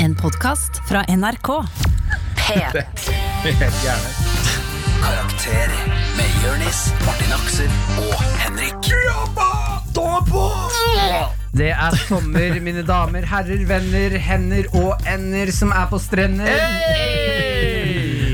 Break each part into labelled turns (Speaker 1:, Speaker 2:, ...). Speaker 1: En podkast fra NRK.
Speaker 2: P3.
Speaker 3: Helt gjerne.
Speaker 4: Karakter med Jørnis, Martin Aksel og Henrik.
Speaker 5: Det er sommer, mine damer, herrer, venner, hender og ender som er på strender.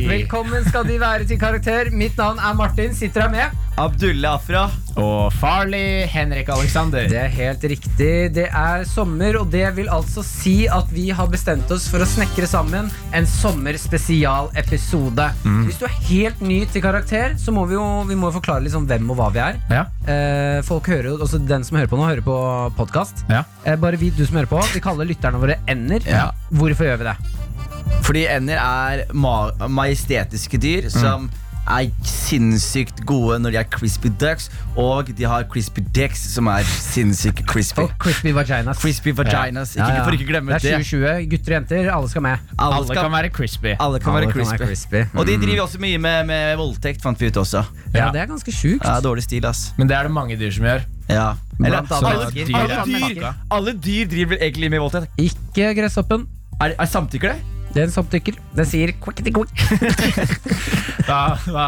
Speaker 5: Velkommen skal de være til Karakter. Mitt navn er Martin. Sitter her med.
Speaker 6: Abdullah Afra.
Speaker 3: Og farlig Henrik Alexander.
Speaker 5: Det er helt riktig. Det er sommer, og det vil altså si at vi har bestemt oss for å snekre sammen en sommerspesialepisode.
Speaker 6: Mm.
Speaker 5: Hvis du er helt ny til Karakter, så må vi jo vi må jo forklare litt sånn hvem og hva vi er.
Speaker 3: Ja.
Speaker 5: Eh, folk hører jo, også Den som hører på nå, hører på podkast.
Speaker 3: Ja.
Speaker 5: Eh, bare vit, du som hører på. Vi kaller lytterne våre ender.
Speaker 6: Ja.
Speaker 5: Hvorfor gjør vi det?
Speaker 6: Fordi ender er ma majestetiske dyr som er sinnssykt gode når de er crispy ducks, og de har crispy dicks som er sinnssykt crispy.
Speaker 5: Og crispy vaginas.
Speaker 6: Crispy vaginas. Ikke, For ikke glemme det.
Speaker 5: Det er 2020. Gutter og jenter, alle skal med.
Speaker 6: Alle,
Speaker 3: Alle
Speaker 6: skal,
Speaker 3: kan være crispy.
Speaker 6: alle kan være
Speaker 5: Alle
Speaker 6: crispy. Mm. Og de driver også mye med, med voldtekt, fant vi ut også.
Speaker 5: Ja,
Speaker 3: Ja.
Speaker 5: det er ganske sjukt.
Speaker 6: Ja, dårlig stil, ass.
Speaker 3: Men det er det mange dyr som gjør.
Speaker 6: Ja. Eller,
Speaker 5: Blant annet
Speaker 6: alle,
Speaker 3: dyr.
Speaker 6: dyr, alle, dyr, alle dyr driver egentlig med voldtekt.
Speaker 5: Ikke gresshoppen.
Speaker 6: Er, er samtykker det?
Speaker 5: Den samtykker. Den sier quickety quick.
Speaker 3: Da, da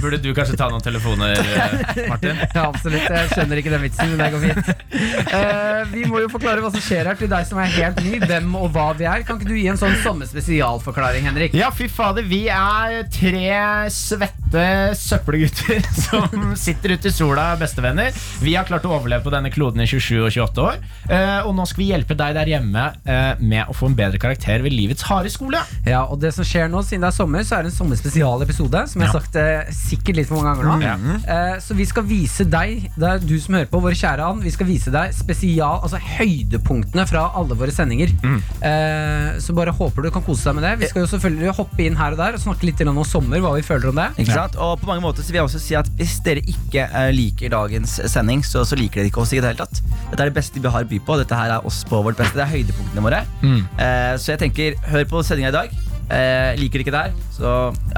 Speaker 3: burde du kanskje ta noen telefoner, eh, Martin.
Speaker 5: Ja, absolutt. Jeg skjønner ikke den vitsen, men det går fint. Eh, vi må jo forklare hva som skjer her til deg som er helt ny. Hvem og hva vi er. Kan ikke du gi en sånn sommerspesialforklaring, Henrik?
Speaker 3: Ja, fy fader. Vi er tre svette søppelgutter som sitter ute i sola, bestevenner. Vi har klart å overleve på denne kloden i 27 og 28 år. eh, Og nå skal vi hjelpe deg der hjemme eh, med å få en bedre karakter ved livets harde skole.
Speaker 5: Ja, og det som skjer nå, Siden det er sommer, så er det en sommerspesialepisode. Som jeg har
Speaker 3: Ja.
Speaker 5: sagt eh, sikkert litt for mange ganger nå.
Speaker 6: Mm.
Speaker 5: Eh, så vi skal vise deg, det er du som hører på, vår kjære Ann, vi skal vise deg spesial, altså høydepunktene fra alle våre sendinger.
Speaker 6: Mm.
Speaker 5: Eh, så bare håper du kan kose deg med det. Vi skal jo selvfølgelig hoppe inn her og der og snakke litt grann om sommer, hva vi føler om det.
Speaker 6: Ikke sant? Og på mange måter så vil jeg også si at Hvis dere ikke eh, liker dagens sending, så, så liker dere ikke oss. i det hele tatt Dette er det beste vi har å by på. Dette her er oss på vårt beste. Det er høydepunktene våre.
Speaker 3: Mm.
Speaker 6: Eh, så jeg tenker, hør på sendinga i dag. Eh, liker dere ikke det her, så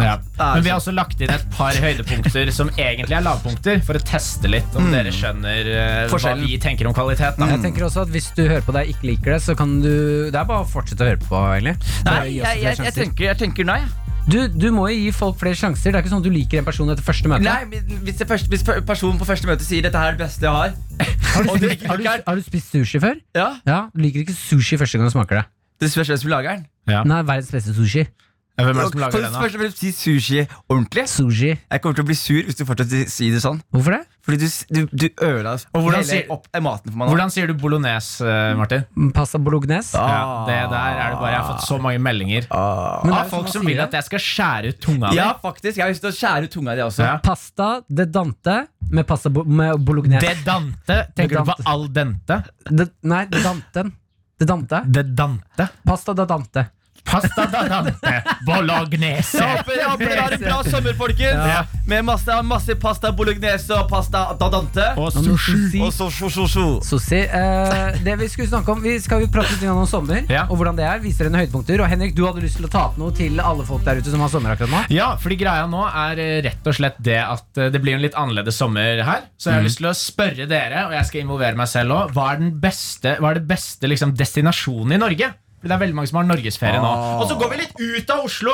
Speaker 3: Ja.
Speaker 6: da er
Speaker 3: Men vi
Speaker 6: det sånn.
Speaker 3: har også lagt inn et par høydepunkter som egentlig er lavpunkter, for å teste litt om dere skjønner eh, hva
Speaker 6: Forskjellen.
Speaker 3: vi tenker om kvalitet. Da.
Speaker 5: Jeg tenker også at Hvis du hører på deg ikke liker det, så kan du Det er bare å fortsette å høre på, egentlig.
Speaker 6: Nei,
Speaker 5: Bare gi oss
Speaker 6: jeg, jeg,
Speaker 5: flere
Speaker 6: jeg,
Speaker 5: sjanser.
Speaker 6: tenker, jeg tenker nei. jeg.
Speaker 5: du, du må jo gi folk flere sjanser. Det er ikke sånn at du liker en person etter første møte.
Speaker 6: nei men hvis, det første, hvis personen på første møte sier dette her er det beste jeg
Speaker 5: Har, du
Speaker 6: har
Speaker 5: spist,
Speaker 6: Og du liker
Speaker 5: har, du,
Speaker 6: ikke-
Speaker 5: har du spist sushi før?
Speaker 6: Ja,
Speaker 5: Ja, Du liker ikke sushi første gang du smaker det.
Speaker 6: Det spørs hvem som lager den.
Speaker 5: Nei, verdens beste sushi.
Speaker 3: Ja, Hvem er det som lager den, da?
Speaker 6: Først og fremst si sushi ordentlig.
Speaker 5: Sushi.
Speaker 6: Jeg kommer til å bli sur hvis du fortsetter å si det sånn.
Speaker 5: Hvorfor det?
Speaker 6: Fordi du, s- du, du ødela
Speaker 3: Og hvordan
Speaker 6: hele
Speaker 3: sier-
Speaker 6: opp, eh, maten for meg nå.
Speaker 3: Hvordan sier du bolognese, eh, Martin?
Speaker 5: Pasta bolognese?
Speaker 6: Ah.
Speaker 3: Ja, det der er det bare Jeg har fått så mange meldinger
Speaker 6: Ah.
Speaker 5: Men det er
Speaker 3: av
Speaker 5: jo
Speaker 3: folk
Speaker 5: sånn
Speaker 3: som
Speaker 5: man
Speaker 3: vil
Speaker 5: sier
Speaker 3: at jeg skal skjære ut tunga
Speaker 6: Ja, faktisk. Jeg har lyst til å skjære ut tunga di også.
Speaker 3: Ja.
Speaker 5: Pasta de dante med pasta bo med bolognese.
Speaker 3: De dante. Tenker du på
Speaker 5: Dante.
Speaker 3: al dente?
Speaker 5: De, nei, de danten. De dante.
Speaker 3: De dante.
Speaker 5: Pasta de dante.
Speaker 3: Pasta da dante. Bolognese.
Speaker 6: Jeg håper, jeg håper dere har en bra sommer, folkens.
Speaker 3: Ja.
Speaker 6: Med masse, masse pasta bolognese og pasta dadante.
Speaker 3: Og sushi.
Speaker 6: Og så så, så, så.
Speaker 5: Sushi. Eh, det vi skulle snakke om Vi skal jo prate litt om sommer
Speaker 3: Ja.
Speaker 5: og hvordan det er. Viser dere høydepunkter. Og Henrik, du hadde lyst til å ta opp noe til alle folk der ute som har sommer akkurat nå.
Speaker 3: Ja, fordi greia nå er eh, rett og slett det at eh, det blir en litt annerledes sommer her. Så jeg har lyst til å spørre dere, og jeg skal involvere meg selv òg, hva er den beste, hva er det beste liksom, destinasjonen i Norge? Fordi Det er veldig mange som har norgesferie nå. Og så går vi litt ut av Oslo!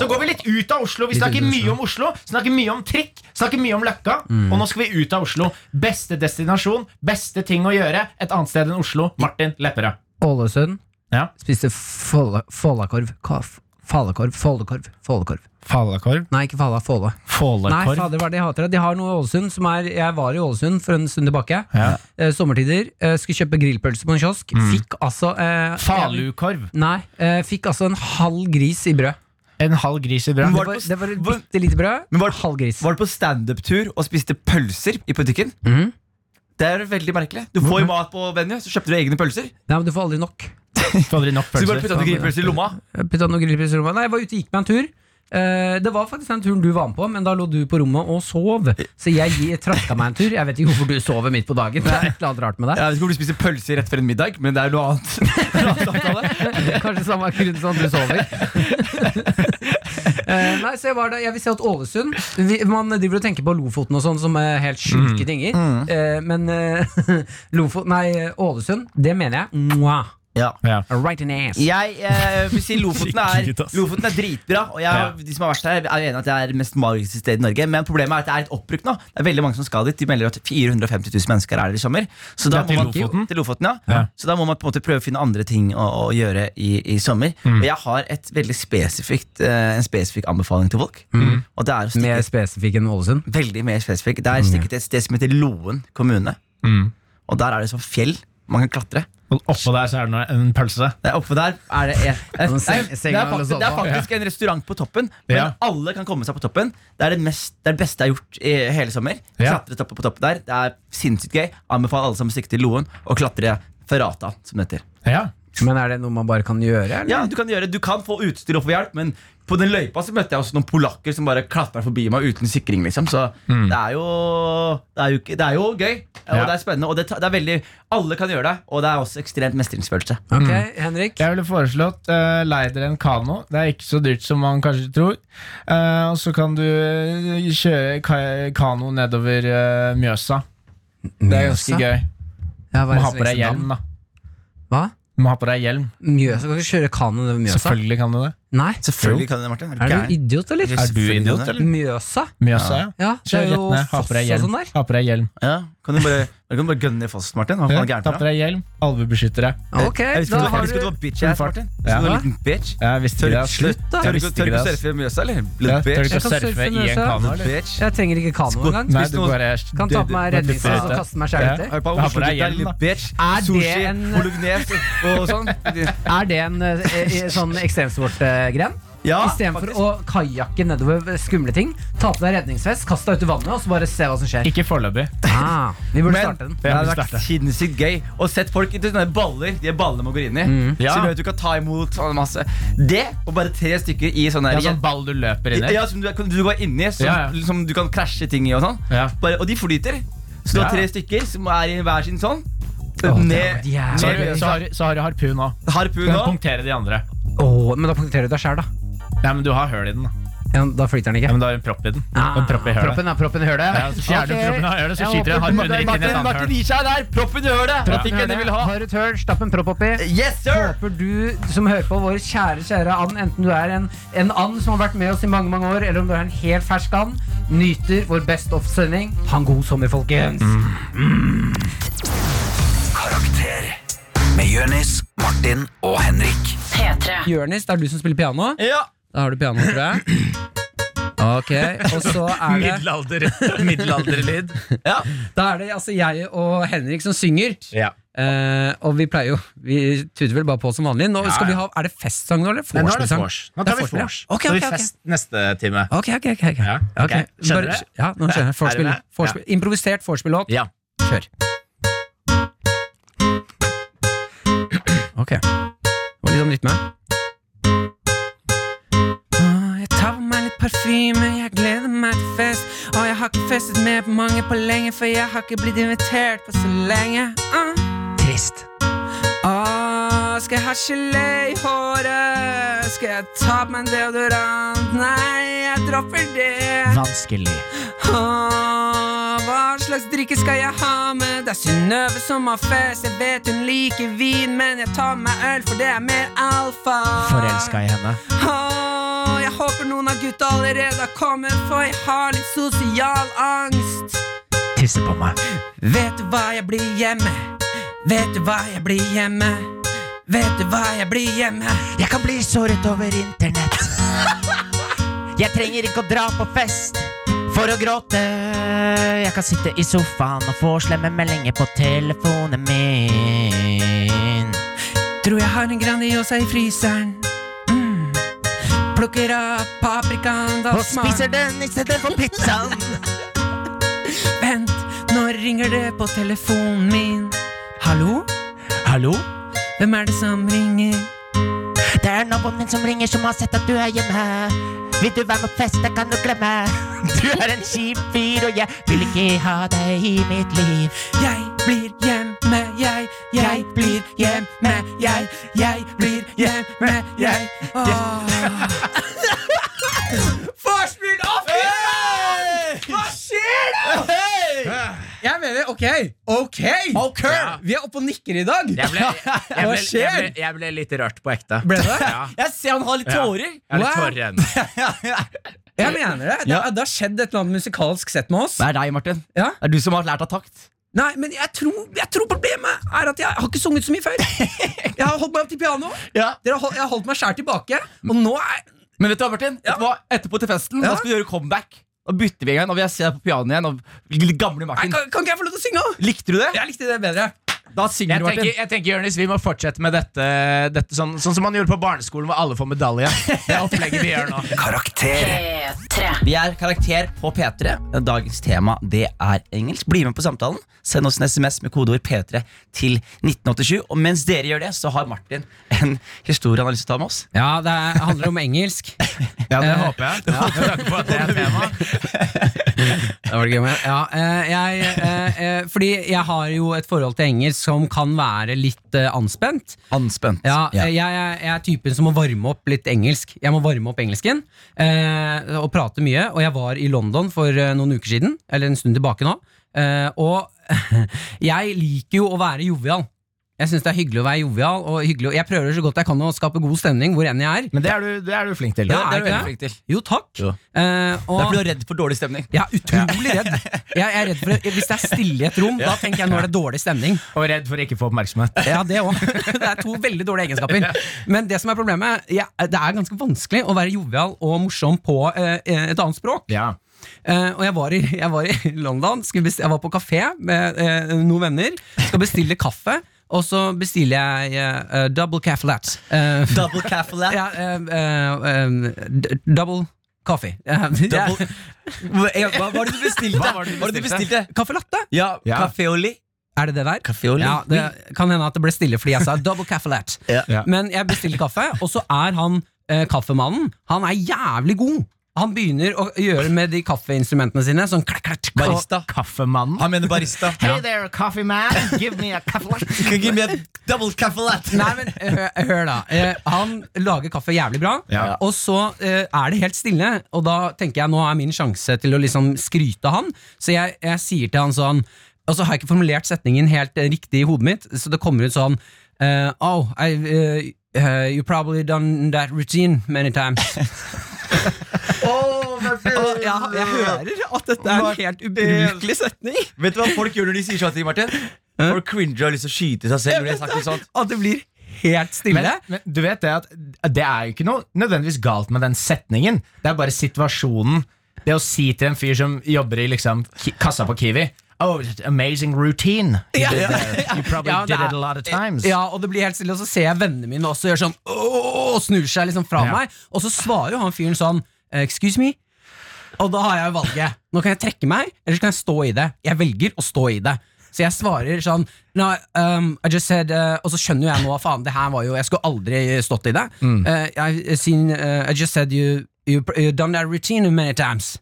Speaker 3: Så går Vi Ah. litt ut av Oslo Vi snakker mye om Oslo, Mm. snakker mye om trikk, snakker mye om Løkka. Og nå skal vi ut av Oslo. Beste destinasjon, beste ting å gjøre et annet sted enn Oslo. Martin Lepperød.
Speaker 5: Ålesund
Speaker 3: Ja.
Speaker 5: spiste folle- fålakorv. Kaf- Falakorv. Follekorv. Follekorv.
Speaker 3: Falakorv.
Speaker 5: Nei, ikke falla. Fåle. Nei,
Speaker 3: Fålekår.
Speaker 5: fader, hva er det jeg hater? da? De har noe i Ålesund som er Jeg var i Ålesund for en stund tilbake.
Speaker 3: Ja.
Speaker 5: Eh, sommertider. Eh, skulle kjøpe grillpølse på en kiosk.
Speaker 6: Mm.
Speaker 5: Fikk altså eh, en-
Speaker 3: Falukorv.
Speaker 5: Nei. Eh, fikk altså en halv gris i brød.
Speaker 3: En halv gris i brød.
Speaker 5: Det
Speaker 6: Men Var
Speaker 5: var,
Speaker 6: det på-
Speaker 5: det var et
Speaker 6: var-
Speaker 5: bitte lite brød.
Speaker 6: Men var-
Speaker 5: halv gris.
Speaker 6: Var du på standup-tur og spiste pølser i butikken?
Speaker 5: Mhm.
Speaker 6: Det er veldig merkelig. Du får jo mat på Venue, så kjøpte du egne pølser.
Speaker 5: Nei, men du får aldri nok.
Speaker 3: Får aldri nok
Speaker 6: Så du bare
Speaker 3: pølser.
Speaker 6: putta noen grillpølser i lomma.
Speaker 5: Jeg putta noen grillpølser i rommet. Nei, jeg var ute og gikk meg en tur. Eh, det var faktisk den turen du var med på, men da lå du på rommet og sov. Så jeg gi- traska meg en tur. Jeg vet ikke hvorfor du sover midt på dagen. Det er et eller annet rart med deg.
Speaker 6: Jeg vet ikke om du spiser pølser rett før en middag, men det er noe annet. Det er noe annet samtale.
Speaker 5: Kanskje samme grunn som at du sover. Eh, nei, så jeg var der Jeg vil si at Ålesund vi, Man driver og tenker på Lofoten og sånn som er helt
Speaker 3: Mm.
Speaker 5: sjuke tinger. Eh, men eh, Lofot, nei, Ålesund, det mener jeg. Mwah.
Speaker 6: Ja.
Speaker 3: Ja.
Speaker 5: Right in the ass.
Speaker 6: Jeg eh, vil si Lofoten er,
Speaker 7: Skikkelig gutt, ass.
Speaker 6: Lofoten er dritbra. Og jeg,
Speaker 3: Ja.
Speaker 6: de som har vært her, er enige at det er det mest magiske stedet i Norge. Men problemet er at det er litt oppbrukt nå. Det er veldig mange som skal dit. De melder at 450 000 mennesker er der i sommer. Så da
Speaker 3: Det er
Speaker 6: må
Speaker 3: til
Speaker 6: man,
Speaker 3: Lofoten?
Speaker 6: Til Lofoten ja.
Speaker 3: Ja.
Speaker 6: Så da må man på en måte prøve å finne andre ting å, å gjøre i, i sommer.
Speaker 3: Mm.
Speaker 6: Og jeg har et veldig spesifikt, eh, en spesifikk anbefaling til folk.
Speaker 3: Mm.
Speaker 6: Og det er å stikke
Speaker 5: Mer spesifikk enn Ålesund.
Speaker 6: Veldig mer spesifikk. Det er
Speaker 3: Mm.
Speaker 6: stikket til et sted som heter Loen kommune. Og der er det sånn fjell man kan klatre.
Speaker 3: Og oppå der så er det noe- en pølse.
Speaker 6: Det er oppe der er det, er, er,
Speaker 5: Sånn seng-
Speaker 6: det, er,
Speaker 5: senga eller
Speaker 6: faktisk, det er
Speaker 5: sofa.
Speaker 6: faktisk en restaurant på toppen, men
Speaker 3: Ja.
Speaker 6: alle kan komme seg på toppen. Det er det, mest, det, er det beste jeg har gjort i hele sommer.
Speaker 3: Ja.
Speaker 6: Klatret oppe på toppen der. Det er sinnssykt gøy. Anbefaler alle sammen å stikke til Loen og klatre Ferrata, som det heter.
Speaker 3: Ja.
Speaker 5: Men er det noe man bare kan gjøre? Eller?
Speaker 6: Ja, du kan gjøre Du kan få utstyr og få hjelp, men på den løypa så møtte jeg også noen polakker som bare klatra forbi meg uten sikring, liksom. Så det, er jo, det, er jo, ikke- det er jo gøy, og
Speaker 3: Ja.
Speaker 6: det er spennende, og det, ta- det er veldig Alle kan gjøre det, og det er også ekstremt mestringsfølelse.
Speaker 5: Ok,
Speaker 3: Mm.
Speaker 5: Henrik.
Speaker 3: Jeg ville foreslått uh, lei dere en kano. Det er ikke så dyrt som man kanskje tror. Eh, og så kan du eh, kjøre ka kano nedover eh, Mjøsa. Det er ganske
Speaker 5: Mjøsa?
Speaker 3: gøy.
Speaker 5: Ja, hva er
Speaker 3: Du må
Speaker 5: det
Speaker 3: ha
Speaker 5: som
Speaker 3: på deg
Speaker 5: heter
Speaker 3: hjelm,
Speaker 5: dam?
Speaker 3: da.
Speaker 5: Hva?
Speaker 3: Du må ha på deg hjelm.
Speaker 5: Mjøsa? Kan du ikke kjøre kano over Mjøsa?
Speaker 3: Selvfølgelig kan du det.
Speaker 5: Nei?
Speaker 6: Selvfølgelig kan det, Martin.
Speaker 5: Er du idiot, eller?
Speaker 3: Er du idiot, eller?
Speaker 5: Mjøsa?
Speaker 3: Mjøsa, ja.
Speaker 5: Ja, det
Speaker 3: Kjør
Speaker 5: er
Speaker 3: rett
Speaker 5: jo
Speaker 3: ned. Ha
Speaker 5: foss
Speaker 3: på deg
Speaker 5: og
Speaker 3: hjelm.
Speaker 5: sånn der.
Speaker 3: Ha på deg hjelm.
Speaker 6: Ja, kan du bare, da kan du bare gønne i fossen, Martin? Hva faen
Speaker 3: Ja,
Speaker 6: er gærent
Speaker 3: ta
Speaker 6: med
Speaker 3: på
Speaker 6: deg?
Speaker 3: deg hjelm. Alvebeskyttere.
Speaker 5: Ok,
Speaker 6: Jeg visste
Speaker 5: da
Speaker 6: ikke- jeg
Speaker 5: har
Speaker 6: visste ikke du
Speaker 5: du
Speaker 6: var bitch ass,
Speaker 3: Full fart.
Speaker 6: Martin. Jeg visste Du var
Speaker 3: Ja.
Speaker 6: en liten bitch.
Speaker 3: Jeg visste
Speaker 6: Tør du
Speaker 3: ikke det. ass.
Speaker 6: slutt, da?
Speaker 3: Jeg
Speaker 6: Tør du
Speaker 3: visste
Speaker 6: ikke- tør du ikke
Speaker 3: ikke det.
Speaker 6: å
Speaker 3: ass.
Speaker 6: surfe i Mjøsa, eller?
Speaker 3: Ja,
Speaker 6: Little
Speaker 3: Tør du
Speaker 6: bitch.
Speaker 5: Jeg
Speaker 3: ikke å
Speaker 5: kan
Speaker 3: surfe
Speaker 5: surfe
Speaker 3: i en
Speaker 5: Mjøsa.
Speaker 3: kano?
Speaker 6: Little
Speaker 3: eller?
Speaker 6: bitch.
Speaker 5: Jeg trenger ikke kano engang.
Speaker 3: Nei,
Speaker 6: Spis
Speaker 3: du
Speaker 6: noe-
Speaker 3: bare
Speaker 5: Kan ta på meg
Speaker 3: du- du-
Speaker 5: redningsvest og
Speaker 3: flyter.
Speaker 5: kaste meg selv etter.
Speaker 3: Ja.
Speaker 6: Har du på
Speaker 3: Ha på
Speaker 6: Oslo-gutta,
Speaker 3: deg hjelm,
Speaker 6: little
Speaker 3: da.
Speaker 6: bitch.
Speaker 5: Er det
Speaker 6: Sushi,
Speaker 5: en-
Speaker 6: bolognese og og sånn.
Speaker 5: Er det en eh, eh, sånn ekstremsportgren?
Speaker 6: Ja,
Speaker 5: Istedenfor å kajakke nedover skumle ting. Ta på deg redningsvest, kast deg ut i vannet og så bare se hva som skjer.
Speaker 3: Ikke foreløpig.
Speaker 5: Ah, vi burde
Speaker 6: Men
Speaker 5: starte den.
Speaker 6: det hadde
Speaker 3: Ja, vi
Speaker 6: vært
Speaker 3: starter.
Speaker 6: sinnssykt gøy å sett folk i sånne baller. De ballene man går inn i.
Speaker 3: Mm. Ja.
Speaker 6: Så du vet du kan ta imot og masse. Det og bare tre stykker i sånn
Speaker 3: Det
Speaker 6: der
Speaker 3: er sånn ball du løper inn i.
Speaker 6: ja, som du, du går inni, som,
Speaker 3: Ja, ja.
Speaker 6: som du kan krasje ting i og sånn.
Speaker 3: Ja.
Speaker 6: Bare, og de flyter. Så du
Speaker 3: Ja.
Speaker 6: har tre stykker som er i hver sin sånn.
Speaker 5: hadde vært
Speaker 6: ned
Speaker 5: jævlig
Speaker 3: Så har,
Speaker 6: ned-
Speaker 3: du- så, har, du- så har du harpun òg.
Speaker 6: Harpun
Speaker 3: Du kan
Speaker 6: nå.
Speaker 3: punktere de andre.
Speaker 5: Åh, men da punkterer du deg sjæl, da.
Speaker 3: Nei, men du har høl i den. da.
Speaker 5: Ja, da flyter den ikke.
Speaker 3: Ja,
Speaker 5: Ah.
Speaker 3: men du har en propp i den. En propp i hølet.
Speaker 5: proppen er proppen i hølet.
Speaker 3: Ja, så fjerner du
Speaker 5: Ok.
Speaker 3: proppen av hølet, så
Speaker 5: Jeg håper
Speaker 3: skyter jeg harpunen
Speaker 5: du-
Speaker 3: rett inn i et
Speaker 6: Martin,
Speaker 3: annet
Speaker 6: Martin gir seg der! Proppen i hølet!
Speaker 5: Proppen i
Speaker 6: Trafikken
Speaker 5: hølet.
Speaker 6: de vil ha.
Speaker 5: Har et høl, stapp en propp oppi.
Speaker 6: Yes, sir!
Speaker 5: Håper du som hører på vår kjære kjære and, enten du er en, en and som har vært med oss i mange mange år, eller om du er en helt fersk and, nyter vår Best Off-sending. Ha en god sommer, folkens!
Speaker 8: Mm. Karakter med Jonis, Martin og Henrik.
Speaker 1: P3.
Speaker 5: Jørnis, det er du som spiller piano.
Speaker 6: Ja.
Speaker 5: Da har du piano, tror jeg. Ok, og så er det
Speaker 7: Middelalder, middelalderlyd.
Speaker 6: ja.
Speaker 5: Da er det altså jeg og Henrik som synger.
Speaker 3: Ja.
Speaker 5: Eh, og vi pleier jo Vi tuter vel bare på som vanlig. Nå skal vi ha, Er det festsang nå, eller?
Speaker 7: Nei, nå er det
Speaker 3: liksom.
Speaker 5: Vorspiel-sang?
Speaker 7: vors. Nå tar
Speaker 5: Det er
Speaker 7: vi
Speaker 5: vorspiel, ja.
Speaker 7: vors.
Speaker 5: Ok,
Speaker 7: Så
Speaker 5: ok,
Speaker 7: har vi
Speaker 5: ok.
Speaker 7: fest neste time.
Speaker 5: Ok, ok, ok, ok.
Speaker 7: Ja, ok.
Speaker 5: Ok,
Speaker 7: Skjønner
Speaker 5: bare-
Speaker 7: du?
Speaker 5: Ja, nå skjønner jeg. Vorspiel.
Speaker 7: med?
Speaker 5: Vorspiel. Improvisert vorspiel-låt.
Speaker 7: Ja.
Speaker 5: Kjør. Ok. Det var litt om rytme. Åh, Ah, Jeg tar på meg litt parfyme, jeg gleder meg til fest. Og jeg har ikke festet med på mange på lenge, for jeg har ikke blitt invitert på så lenge. Trist. Åh, Ah, skal jeg ha gelé i håret? Skal jeg ta på meg en deodorant? Nei, jeg dropper det.
Speaker 7: Vanskelig.
Speaker 5: Åh, hva slags drikke skal jeg ha med? Det er Synnøve som har fest. Jeg vet hun liker vin, men jeg tar med øl, for det er mer alfa.
Speaker 7: Forelska i henne.
Speaker 5: Åh, jeg håper noen av gutta allerede har kommet, for jeg har litt sosial angst.
Speaker 7: Tisse på meg.
Speaker 5: Vet du hva jeg blir hjemme? Vet du hva jeg blir hjemme? Vet du hva jeg blir hjemme?
Speaker 7: Jeg kan bli såret over internett. Jeg trenger ikke å dra på fest for å gråte. Jeg kan sitte i sofaen og få slemme meldinger på telefonen min.
Speaker 5: Tror jeg har en Grandiosa i fryseren. Mm. Plukker av paprikaen, da
Speaker 7: Og
Speaker 5: smaker
Speaker 7: spiser den istedenfor pizzaen.
Speaker 5: Vent, nå ringer det på telefonen min. Hallo?
Speaker 7: Hallo?
Speaker 5: Hvem er det som ringer?
Speaker 7: Det er naboen min som ringer, som har sett at du er hjemme. Vil du være med på fest? Det kan du glemme. Du er en kjip fyr, og jeg vil ikke ha deg i mitt liv.
Speaker 5: Jeg blir hjemme, jeg. Jeg blir hjemme, jeg. Jeg blir hjemme, jeg. Åh. Forspill opp! Hva skjer da?! Jeg mener, ok,
Speaker 9: Ok! Ok!
Speaker 10: Ok!
Speaker 9: Vi er oppe og nikker i dag!
Speaker 3: Jeg ble, jeg, ble, jeg, ble,
Speaker 9: skjer?
Speaker 3: jeg ble litt rørt på ekte.
Speaker 9: Ble det?
Speaker 3: Ja,
Speaker 6: Jeg ser han har litt tårer!
Speaker 3: jeg er litt
Speaker 9: Wow.
Speaker 3: tårer i øynene.
Speaker 9: Jeg mener det. Det, det har skjedd et eller annet musikalsk sett med oss.
Speaker 6: Det er deg, Martin.
Speaker 9: Ja.
Speaker 6: Det er du som har lært av takt.
Speaker 9: Nei, men jeg tror, jeg tror problemet er at jeg har ikke sunget så mye før. Jeg har holdt meg opp til piano.
Speaker 6: Ja.
Speaker 9: Dere har, hol- jeg har holdt meg skjær tilbake. Og nå er
Speaker 6: Men vet du hva, Martin? Vet du hva? Etterpå til festen
Speaker 9: Ja.
Speaker 6: Da skal vi gjøre comeback. Da bytter vi en gang, og vi ser deg på pianoet igjen. Og gamle
Speaker 9: Nei,
Speaker 6: Martin.
Speaker 9: kan, kan ikke jeg få lov til å synge òg?
Speaker 6: Likte du det?
Speaker 9: Jeg likte det bedre.
Speaker 6: Da synger
Speaker 3: Jeg
Speaker 6: du,
Speaker 3: tenker,
Speaker 6: Martin.
Speaker 3: jeg tenker Jørnis, Vi må fortsette med dette, dette sånn, sånn som man gjorde på barneskolen, hvor alle får medalje. Det er opplegget vi gjør nå.
Speaker 1: Karakter.
Speaker 6: Vi er Karakter på P3. Dagens tema det er engelsk. Bli med på samtalen. Send oss en SMS med kodeord P3 til 1987. Og mens dere gjør det, så har Martin en historie han har lyst til å ta med oss. Eh,
Speaker 5: Ja, det er- handler om engelsk.
Speaker 3: Ja, det håper jeg. Ja, med tanke på at det er tema.
Speaker 5: Det var det gøy med. Ja, eh, jeg, eh, eh, fordi jeg har jo et forhold til engelsk som kan være litt eh, anspent.
Speaker 6: Anspent.
Speaker 5: Ja,
Speaker 6: Ja.
Speaker 5: eh, Jeg, jeg, jeg er typen som må varme opp litt engelsk. Jeg må varme opp engelsken eh, og prate mye. Og jeg var i London for eh, noen uker siden, eller en stund tilbake nå. Eh, og jeg liker jo å være jovial. Jeg syns det er hyggelig å være jovial. Og hyggelig, å- jeg prøver så godt jeg kan å skape god stemning hvor enn jeg er.
Speaker 3: Men det er, du, det er du flink til.
Speaker 5: Ja,
Speaker 6: det er du
Speaker 5: ikke
Speaker 6: veldig flink til.
Speaker 5: Jo, takk.
Speaker 6: Jo.
Speaker 5: Eh,
Speaker 6: Det er
Speaker 5: og,
Speaker 6: fordi du er redd for dårlig stemning.
Speaker 5: jeg er utrolig redd. Jeg jeg er redd for det. Hvis det er stille i et rom, da tenker jeg nå er det dårlig stemning.
Speaker 3: Og redd for å ikke få oppmerksomhet.
Speaker 5: Ja, det òg. Det er to veldig dårlige egenskaper. Men det som er problemet, ja, det er ganske vanskelig å være jovial og morsom på eh, et annet språk.
Speaker 3: Ja.
Speaker 5: Eh, og jeg var i, jeg var i London, skulle besti- jeg var på kafé med eh, noen venner, skal bestille kaffe, og så bestiller jeg eh, eh, double cafe lat. Eh,
Speaker 6: Double caffeine.
Speaker 5: ja, eh, eh, eh, d- double coffee. Eh, ja.
Speaker 6: Double- Hva hva var det du bestilte?
Speaker 3: Hva var det du
Speaker 6: Hva var det du
Speaker 3: bestilte?
Speaker 6: bestilte?
Speaker 5: Kaffe latte?
Speaker 6: Ja,
Speaker 3: Ja.
Speaker 6: Café au lait.
Speaker 5: Er det det der?
Speaker 6: Café au lait.
Speaker 5: Ja, det kan hende at det ble stille fordi jeg sa double cafe lat.
Speaker 3: Ja.
Speaker 5: Men jeg bestiller kaffe, og så er han eh, kaffemannen. Han er jævlig god! Han begynner å gjøre med de kaffeinstrumentene sine. Sånn klakk, klakk, klakk.
Speaker 6: Barista.
Speaker 3: Kaffemannen.
Speaker 6: Han mener barista.
Speaker 3: Hey there, coffee man. Give me a coffee latte.
Speaker 6: Give me a double cafe latte.
Speaker 5: Nei, men hør, hør da. Eh, han lager kaffe jævlig bra,
Speaker 3: Ja.
Speaker 5: og så eh, er det helt stille. Og da tenker jeg nå er min sjanse til å liksom skryte av han, så jeg, jeg sier til han sånn Og så har jeg ikke formulert setningen helt eh, riktig i hodet mitt, så det kommer ut sånn eh, Oh, I, eh, eh, you probably done that routine many times. Og jeg, jeg hører at dette er en helt ubrukelig setning.
Speaker 6: Vet du hva folk gjør når de sier sånne ting, Martin? Folk cringer og har lyst til å skyte seg selv. Når de har sagt noe sånt
Speaker 5: At det blir helt stille.
Speaker 3: Men, men du vet det at det er jo ikke noe nødvendigvis galt med den setningen. Det er bare situasjonen. Det å si til en fyr som jobber i liksom ki kassa på Kiwi Oh, it's an amazing routine. You, did there. you probably
Speaker 5: Ja, det
Speaker 3: did
Speaker 5: er-
Speaker 3: it a lot of times.
Speaker 5: Ja, og det blir helt stille, og så ser jeg vennene mine også gjøre sånn «Åh!» og snur seg liksom fra
Speaker 3: Ja.
Speaker 5: meg. Og så svarer jo han fyren sånn Excuse me. Og da har jeg jo valget. Nå kan jeg trekke meg, eller så kan jeg stå i det. Jeg velger å stå i det. Så jeg svarer sånn no, um, I just said, uh, Og så skjønner jo jeg nå faen, det her var jo Jeg skulle aldri stått i det.
Speaker 3: Mm.
Speaker 5: Uh, I've seen, uh, I just said you, you, you done that routine many times.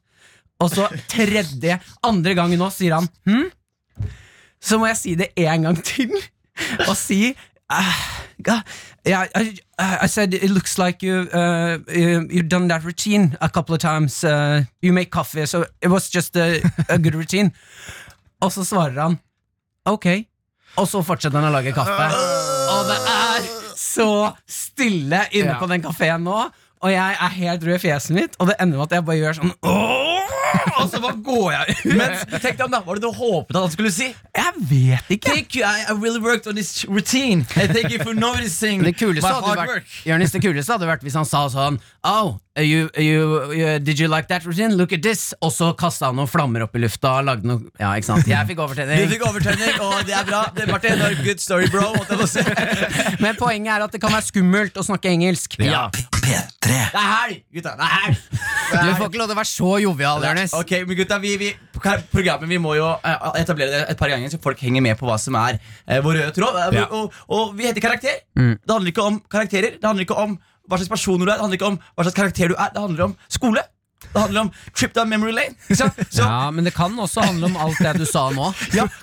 Speaker 5: Og så tredje, andre gangen nå sier han hm? Så må jeg si det en gang til Og si «Ah, God, yeah, I, I said it looks like you, uh, you, you've done that routine a couple of times uh, You make coffee, so it was just a, a good routine Og så svarer han Ok Og så fortsetter han å lage kaffe
Speaker 6: Ah.
Speaker 5: Og det er så stille inne
Speaker 3: Ja.
Speaker 5: på den kaféen nå Og jeg er helt rød i fjeset mitt Og det ender med at jeg bare gjør sånn «Åh!» Og så bare går jeg ut
Speaker 6: Men tenk deg om da, hva var det du håpet at han skulle si?
Speaker 5: Jeg vet ikke
Speaker 6: Thank you, I, I really worked on this routine And thank you for noticing
Speaker 5: Det kuleste
Speaker 6: my
Speaker 5: hadde
Speaker 6: hard
Speaker 5: vært,
Speaker 6: work
Speaker 5: Jonis, det kuleste hadde vært hvis han sa sånn Oh, you, you, you, did you like that routine? Look at this Og så kastet han noen flammer opp i lufta og lagde noe Ja, ikke sant? Jeg fikk
Speaker 6: Du
Speaker 5: overtenning
Speaker 6: fikk overtenning, og det er bra det, Martin, det var good story, bro måtte jeg få si.
Speaker 5: Men poenget er at det kan være skummelt å snakke engelsk
Speaker 3: Ja.
Speaker 1: P3.
Speaker 6: Det er helg, gutta, det er helg
Speaker 5: Du får ikke lov til å være så jovial, Jonis
Speaker 6: Ok, men gutta, vi, vi, på kar- programmet vi må jo eh, etablere det et par ganger Så folk henger med på hva som er eh, vår røde tråd Eh,
Speaker 3: Ja. Mm.
Speaker 6: og, og, og vi heter karakter Det handler ikke om karakterer Det handler ikke om hva slags personer du er Det handler ikke om hva slags karakter du er Det handler om skole Det handler om trip down memory lane Ikke sant? Så, ja.
Speaker 5: Ja, men det kan også handle om alt det du sa nå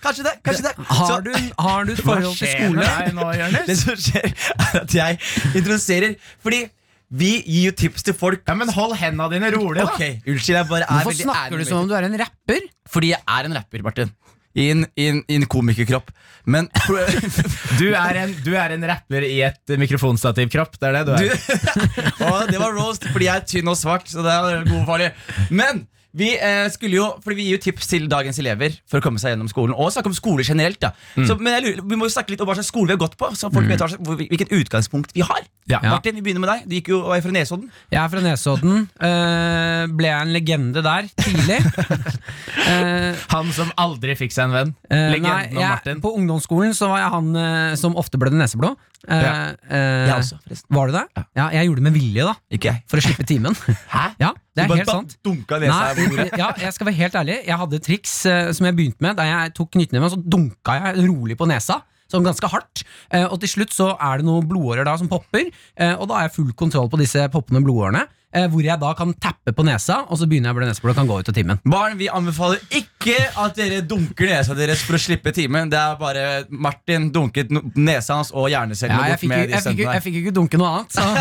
Speaker 6: kanskje det, kanskje det Så-
Speaker 5: Har du, har du et forhold til
Speaker 3: Skjer
Speaker 5: skole?
Speaker 3: det deg nå, Jonis?
Speaker 6: Det som skjer, er at jeg introduserer Fordi vi gir jo tips til folk.
Speaker 3: Ja, men hold hendene dine rolig, da.
Speaker 6: Ok, Unnskyld, jeg bare er
Speaker 5: Hvorfor sånn?
Speaker 6: veldig ærlig.
Speaker 5: snakker du som om du er en rapper?
Speaker 6: Fordi jeg er en rapper, Martin. i en, i en, i en komikerkropp. Men
Speaker 3: Du er en, du er en rapper i et eh, mikrofonstativkropp. Det er det du er.
Speaker 6: og det var roast fordi jeg er tynn og svart, så det er god farlig. Men vi eh, skulle jo, fordi vi gir jo tips til dagens elever for å komme seg gjennom skolen. Og snakke om skole generelt. da
Speaker 5: Mm.
Speaker 6: så, Men jeg lurer, Vi må jo snakke litt om hva slags skole vi har gått på, så folk vet hva slags- hvor vi- hvilket utgangspunkt vi har.
Speaker 3: Ja.
Speaker 6: Martin, vi begynner med deg. Du gikk jo og er fra Nesodden.
Speaker 5: Jeg er fra Nesodden. eh, ble jeg en legende der tidlig? Eh,
Speaker 3: Han som aldri fikk seg en venn.
Speaker 5: eh, nei,
Speaker 3: Legenden om
Speaker 5: jeg,
Speaker 3: Martin.
Speaker 5: på ungdomsskolen så var jeg han eh, som ofte ble det neseblå. Eh, eh,
Speaker 6: Jeg også, forresten.
Speaker 5: var du det? Ja. jeg gjorde det med vilje, da.
Speaker 6: Ikke jeg.
Speaker 5: For å slippe timen.
Speaker 6: Hæ?
Speaker 5: Ja, det er
Speaker 6: bare
Speaker 5: helt
Speaker 6: ba-
Speaker 5: sant.
Speaker 6: Dunka nesa i
Speaker 5: Nei,
Speaker 6: bordet.
Speaker 5: ja, jeg skal være helt ærlig. Jeg hadde et triks eh, som jeg begynte med. Da jeg tok knyttneven, så dunka jeg rolig på nesa. Sånn ganske hardt. Eh, og til slutt så er det noen blodårer da som popper, eh, og da har jeg full kontroll på disse poppende blodårene. eh, hvor jeg da kan tappe på nesa, og så begynner jeg å bli neseblod og kan gå ut av timen.
Speaker 6: Barn, vi anbefaler ikke at dere dunker nesa deres for å slippe timen. Det er bare Martin dunket no- nesa hans og hjernecellen.
Speaker 5: Ja,
Speaker 6: og
Speaker 5: jeg
Speaker 6: bort
Speaker 5: fikk jo
Speaker 6: med
Speaker 5: jeg fikk
Speaker 6: de
Speaker 5: jo-
Speaker 6: studentene her.
Speaker 5: jeg fikk jo ikke dunke noe annet, så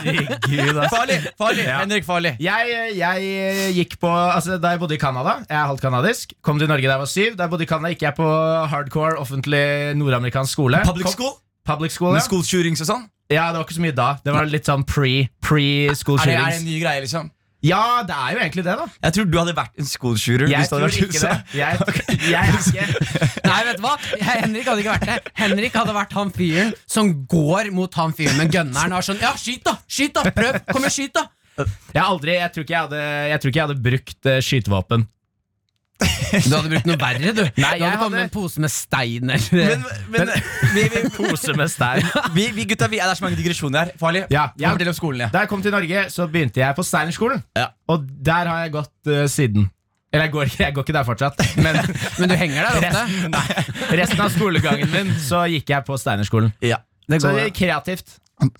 Speaker 3: Herregud, ass.
Speaker 6: Farlig! farlig,
Speaker 3: Ja.
Speaker 6: Henrik Farlig.
Speaker 3: Jeg, jeg gikk på altså, Da jeg bodde i Canada Jeg er halvt kanadisk. Kom til Norge da jeg var syv. Da jeg bodde i Canada gikk jeg på hardcore offentlig nordamerikansk skole.
Speaker 6: Public
Speaker 3: Kom-
Speaker 6: school?
Speaker 3: Public school,
Speaker 6: Med
Speaker 3: ja.
Speaker 6: school shootings og sånn?
Speaker 3: ja, Det var ikke så mye da. Det var litt sånn pre, pre school
Speaker 6: Er det, er det
Speaker 3: shootings.
Speaker 6: en ny greie, liksom?
Speaker 3: Ja, det er jo egentlig det, da.
Speaker 6: Jeg tror du hadde vært en school shooter.
Speaker 3: Jeg
Speaker 6: hvis du hadde
Speaker 3: tror
Speaker 6: vært i
Speaker 3: ikke
Speaker 6: USA.
Speaker 3: det. Jeg, jeg er ikke
Speaker 5: Nei, vet du hva? Jeg, Henrik hadde ikke vært det. Henrik hadde vært han fyren som går mot han fyren med gunneren og er sånn Ja, skyt, da! Skyt, da! Prøv! Kom igjen, skyt, da!
Speaker 3: Jeg, har aldri, jeg, tror ikke jeg, hadde, jeg tror ikke jeg hadde brukt eh, skytevåpen.
Speaker 5: Du hadde brukt noe verre, du.
Speaker 3: Nei,
Speaker 5: du
Speaker 3: jeg
Speaker 5: hadde kommet med
Speaker 3: hadde-
Speaker 5: en pose med stein eller
Speaker 6: Men, men vi, vi,
Speaker 3: Pose med stein.
Speaker 6: vi, vi gutta, vi, det er så mange digresjoner her. Farlig.
Speaker 3: Ja, ja.
Speaker 6: Fortell om skolen, ja.
Speaker 3: Da jeg kom til Norge, så begynte jeg på Steinerskolen.
Speaker 6: Ja.
Speaker 3: Og der har jeg gått eh, siden. Eller jeg går, ikke- jeg går ikke der fortsatt, men
Speaker 5: Men du henger der ofte.
Speaker 3: resten, resten av skolegangen min så gikk jeg på Steinerskolen.
Speaker 6: ja.
Speaker 5: Det
Speaker 3: Så
Speaker 5: går
Speaker 3: det er kreativt.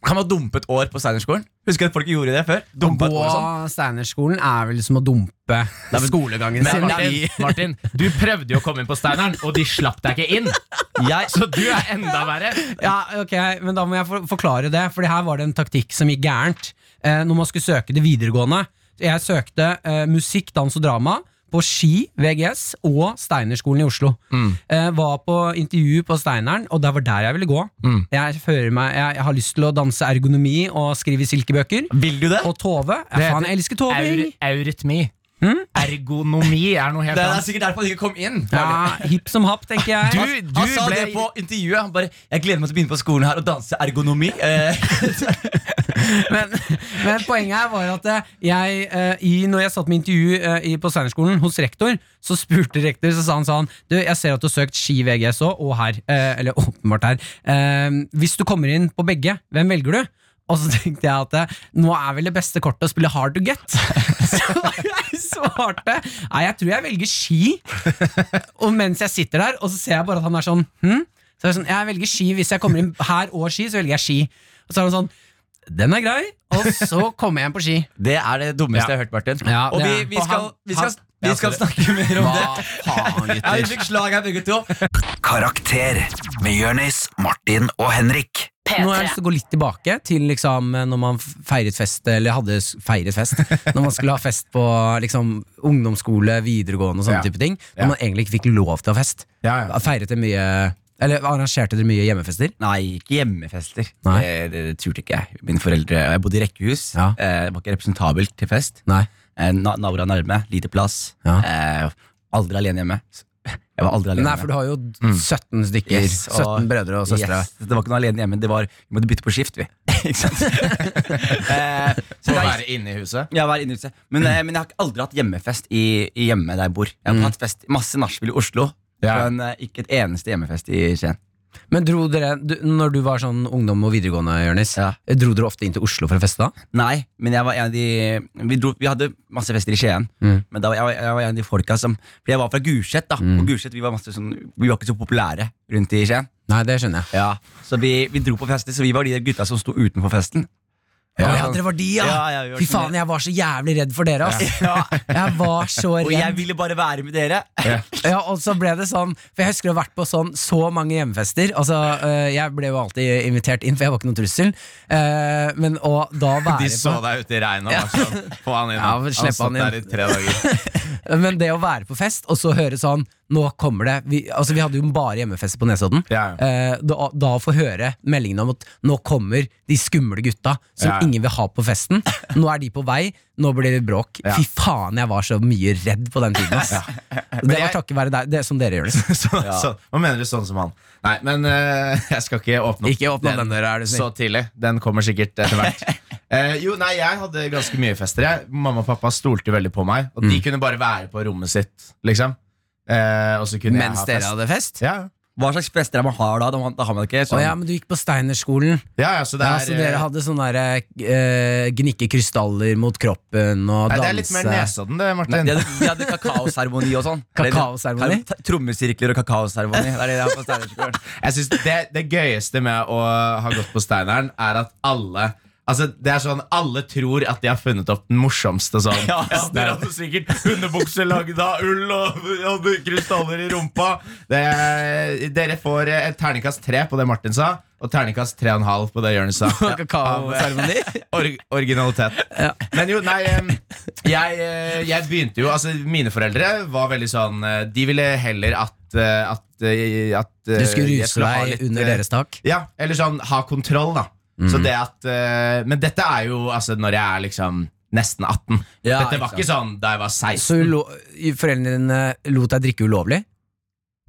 Speaker 6: Kan man dumpe et år på Steinerskolen? Husker du at folk gjorde det før?
Speaker 5: Å
Speaker 6: Dumpa et
Speaker 5: gå
Speaker 6: år og sånn.
Speaker 5: Steinerskolen er vel som å dumpe skolegangen
Speaker 3: liksom. Men
Speaker 5: sin.
Speaker 3: Martin, Martin, du prøvde jo å komme inn på Steineren, og de slapp deg ikke inn.
Speaker 6: Jeg,
Speaker 3: Så du er enda verre.
Speaker 5: Ja, ok, men da må jeg for forklare det, Fordi her var det en taktikk som gikk gærent. Eh, når man skulle søke det videregående. Jeg søkte eh, musikk, dans og drama på Ski VGS og Steinerskolen i Oslo.
Speaker 3: Mm.
Speaker 5: Eh, var på intervju på Steineren, og det var der jeg ville gå.
Speaker 3: Mm.
Speaker 5: Jeg, fører meg, jeg, jeg har lyst til å danse ergonomi og skrive silkebøker.
Speaker 6: vil du det?
Speaker 5: Og Tove. Ja, faen, jeg elsker Tove!
Speaker 3: Eur,
Speaker 5: Ing.
Speaker 3: eurytmi. Ergonomi Hm? er noe helt
Speaker 6: Det er
Speaker 3: annet.
Speaker 6: sikkert derfor han ikke kom inn.
Speaker 5: Ja, hipp som happ, tenker jeg. Altså,
Speaker 3: Du-
Speaker 6: Han- han sa
Speaker 3: ble-
Speaker 6: det på intervjuet. Han bare 'Jeg gleder meg til å begynne på skolen her og danse ergonomi'. Eh,
Speaker 5: men, men poenget her var at eh, jeg, eh, i, når jeg satt med intervju eh, i, på Steinerskolen hos rektor, så spurte rektor, så sa han sånn Du, jeg ser at du har søkt Ski VGS òg, og her. eh, eller åpenbart her. Eh, hvis du kommer inn på begge, hvem velger du? Og så tenkte jeg at eh, nå er vel det beste kortet å spille hard to get. Så jeg svarte Nei, jeg tror jeg velger ski. Og mens jeg sitter der, og så ser jeg bare at han er sånn hm? Så jeg, er sånn, jeg velger ski Hvis jeg kommer inn her og ski, så velger jeg ski. Og så er han sånn Den er grei. Og så kommer jeg inn på ski.
Speaker 6: det er det dummeste jeg har hørt, Martin.
Speaker 5: Ja,
Speaker 6: og
Speaker 5: det
Speaker 6: vi,
Speaker 5: er-
Speaker 6: vi
Speaker 5: og
Speaker 6: skal,
Speaker 5: han-
Speaker 6: vi skal,
Speaker 5: han-
Speaker 6: vi
Speaker 5: Ja,
Speaker 6: skal
Speaker 5: sorry.
Speaker 6: snakke mer om det.
Speaker 5: faen,
Speaker 6: Ja, vi fikk slag her, begge to.
Speaker 11: Karakter med Jonis, Martin og Henrik.
Speaker 5: Nå har jeg lyst til å gå litt tilbake til liksom, når man f- feiret fest, eller hadde s- feiret fest. Når man skulle ha fest på liksom, ungdomsskole, videregående og sånne
Speaker 3: Ja.
Speaker 5: type ting. Når
Speaker 3: Ja.
Speaker 5: man egentlig ikke fikk lov til å ha fest.
Speaker 3: Ja, ja.
Speaker 5: Feiret dere mye Eller arrangerte dere mye hjemmefester?
Speaker 6: Nei, ikke hjemmefester.
Speaker 5: Nei.
Speaker 6: Det, det, det turte ikke jeg. Mine foreldre Jeg bodde i rekkehus.
Speaker 5: Ja.
Speaker 6: Eh, det var ikke representabelt til fest.
Speaker 5: Nei.
Speaker 6: Eh, na Naboer er nærme, lite plass.
Speaker 5: Ja.
Speaker 6: Eh, aldri alene hjemme. Jeg var aldri alene
Speaker 5: Nei,
Speaker 6: hjemme.
Speaker 5: for du har jo 17 stykker.
Speaker 6: Mm. Yes, og-
Speaker 5: 17 brødre og søstre.
Speaker 6: Yes. Det var ikke noe alene hjemme. Det var, vi måtte bytte på skift, vi. ikke sant? eh, så
Speaker 3: Å
Speaker 6: det er-
Speaker 3: være inne i huset.
Speaker 6: Ja, hver innelse. Men, eh, men jeg har ikke aldri hatt hjemmefest i, i hjemme der jeg bor. Jeg har
Speaker 5: Mm.
Speaker 6: hatt fest masse nachspiel i Oslo,
Speaker 3: Ja.
Speaker 6: men eh, ikke et eneste hjemmefest i Skien.
Speaker 5: Men dro dere, du, når du var sånn ungdom og videregående, Jørnis,
Speaker 6: Ja.
Speaker 5: dro dere ofte inn til Oslo for å feste da?
Speaker 6: Nei, men jeg var en av de Vi, dro, vi hadde masse fester i Skien,
Speaker 5: Mm.
Speaker 6: men da var jeg, var- jeg var en av de folka som For jeg var fra Gulset, da. Og Gulset, vi var, masse sånn, vi var ikke så populære rundt i Skien.
Speaker 5: Nei, det skjønner jeg.
Speaker 6: Ja. Så vi, vi dro på fester, så vi var de gutta som sto utenfor festen.
Speaker 5: Ja, dere var de, ja!
Speaker 6: Ja, ja, vi var
Speaker 5: Fy
Speaker 6: sånn-
Speaker 5: faen, jeg var så jævlig redd for dere, ass. Jeg var så
Speaker 6: Og jeg
Speaker 5: redd.
Speaker 6: ville bare være med dere.
Speaker 5: Ja, og så ble det sånn, for jeg husker å ha vært på sånn så mange hjemmefester. Altså, øh, jeg ble jo alltid invitert inn, for jeg var ikke noen trussel. Eh, men å da være
Speaker 3: De så
Speaker 5: på
Speaker 3: deg ute i regnet. og var sånn, Få han inn.
Speaker 5: Ja,
Speaker 3: Han
Speaker 5: slipp
Speaker 3: satt
Speaker 5: han inn.
Speaker 3: der i tre dager.
Speaker 5: Men det å være på fest, og så høre sånn nå kommer det Vi, altså, vi hadde jo bare hjemmefester på Nesodden.
Speaker 3: Ja, ja.
Speaker 5: Eh, da, da å få høre meldingene om at nå kommer de skumle gutta som
Speaker 3: Ja, ja.
Speaker 5: ingen vil ha på festen. Nå er de på vei, nå blir det bråk. Fy faen, jeg var så mye redd på den tiden. Ass. Det var
Speaker 3: jeg-
Speaker 5: takket være deg, det er som dere gjør det.
Speaker 3: så, så, hva mener du sånn som han? Nei, men eh, jeg skal ikke åpne opp
Speaker 5: Ikke åpne den døra, er du snill.
Speaker 3: så tidlig. Den kommer sikkert etter hvert. Eh, jo, nei, Jeg hadde ganske mye fester. Jeg. Mamma og pappa stolte jo veldig på meg. Og de
Speaker 5: Mm.
Speaker 3: kunne bare være på rommet sitt, liksom. Eh, og så kunne
Speaker 6: Mens
Speaker 3: jeg
Speaker 6: dere
Speaker 3: ha fest.
Speaker 6: hadde fest?
Speaker 3: Ja,
Speaker 12: Hva slags fester er man har da? Da har man- Da har man ikke
Speaker 5: Å
Speaker 12: sånn
Speaker 5: ja, men du gikk på Steinerskolen.
Speaker 3: ja, ja, så det
Speaker 5: Ja,
Speaker 3: er,
Speaker 5: så dere
Speaker 3: eh,
Speaker 5: hadde sånne der, eh, gnikke krystaller mot kroppen og danse
Speaker 3: eh, nei, det er litt mer Nesodden, det, Martin.
Speaker 12: De hadde, de hadde kakaoseremoni og sånn.
Speaker 5: Kakaoseremoni?
Speaker 12: Eller- Trommesirkler og kakaoseremoni. Det er det jeg har på Steinerskolen.
Speaker 3: Jeg synes det, det gøyeste med å ha gått på Steineren, er at alle Altså, det er sånn, Alle tror at de har funnet opp den morsomste sånn. Ja, Dere hadde sikkert hundebukser lagd av ull og hadde krystaller i rumpa. Det, dere får eh, et terningkast tre på det Martin sa, og terningkast tre og en halv på det Jonis sa. Av, eh,
Speaker 5: Kakaoseremoni?
Speaker 3: Or originalitet. Men jo, nei em, jeg, eh, jeg begynte jo Altså, mine foreldre var veldig sånn eh, De ville heller at eh, At, eh, at eh,
Speaker 5: Du skulle
Speaker 3: jeg
Speaker 5: ruse
Speaker 3: ha
Speaker 5: deg
Speaker 3: litt, eh,
Speaker 5: under deres Mhm. tak?
Speaker 3: Ja, eller sånn ha kontroll, da. Så det at eh, Men dette er jo altså når jeg er liksom nesten 18.
Speaker 5: Ja,
Speaker 3: dette var
Speaker 5: ikke
Speaker 3: ikke sånn da jeg var 16.
Speaker 5: Så ulo- foreldrene dine lot deg drikke ulovlig?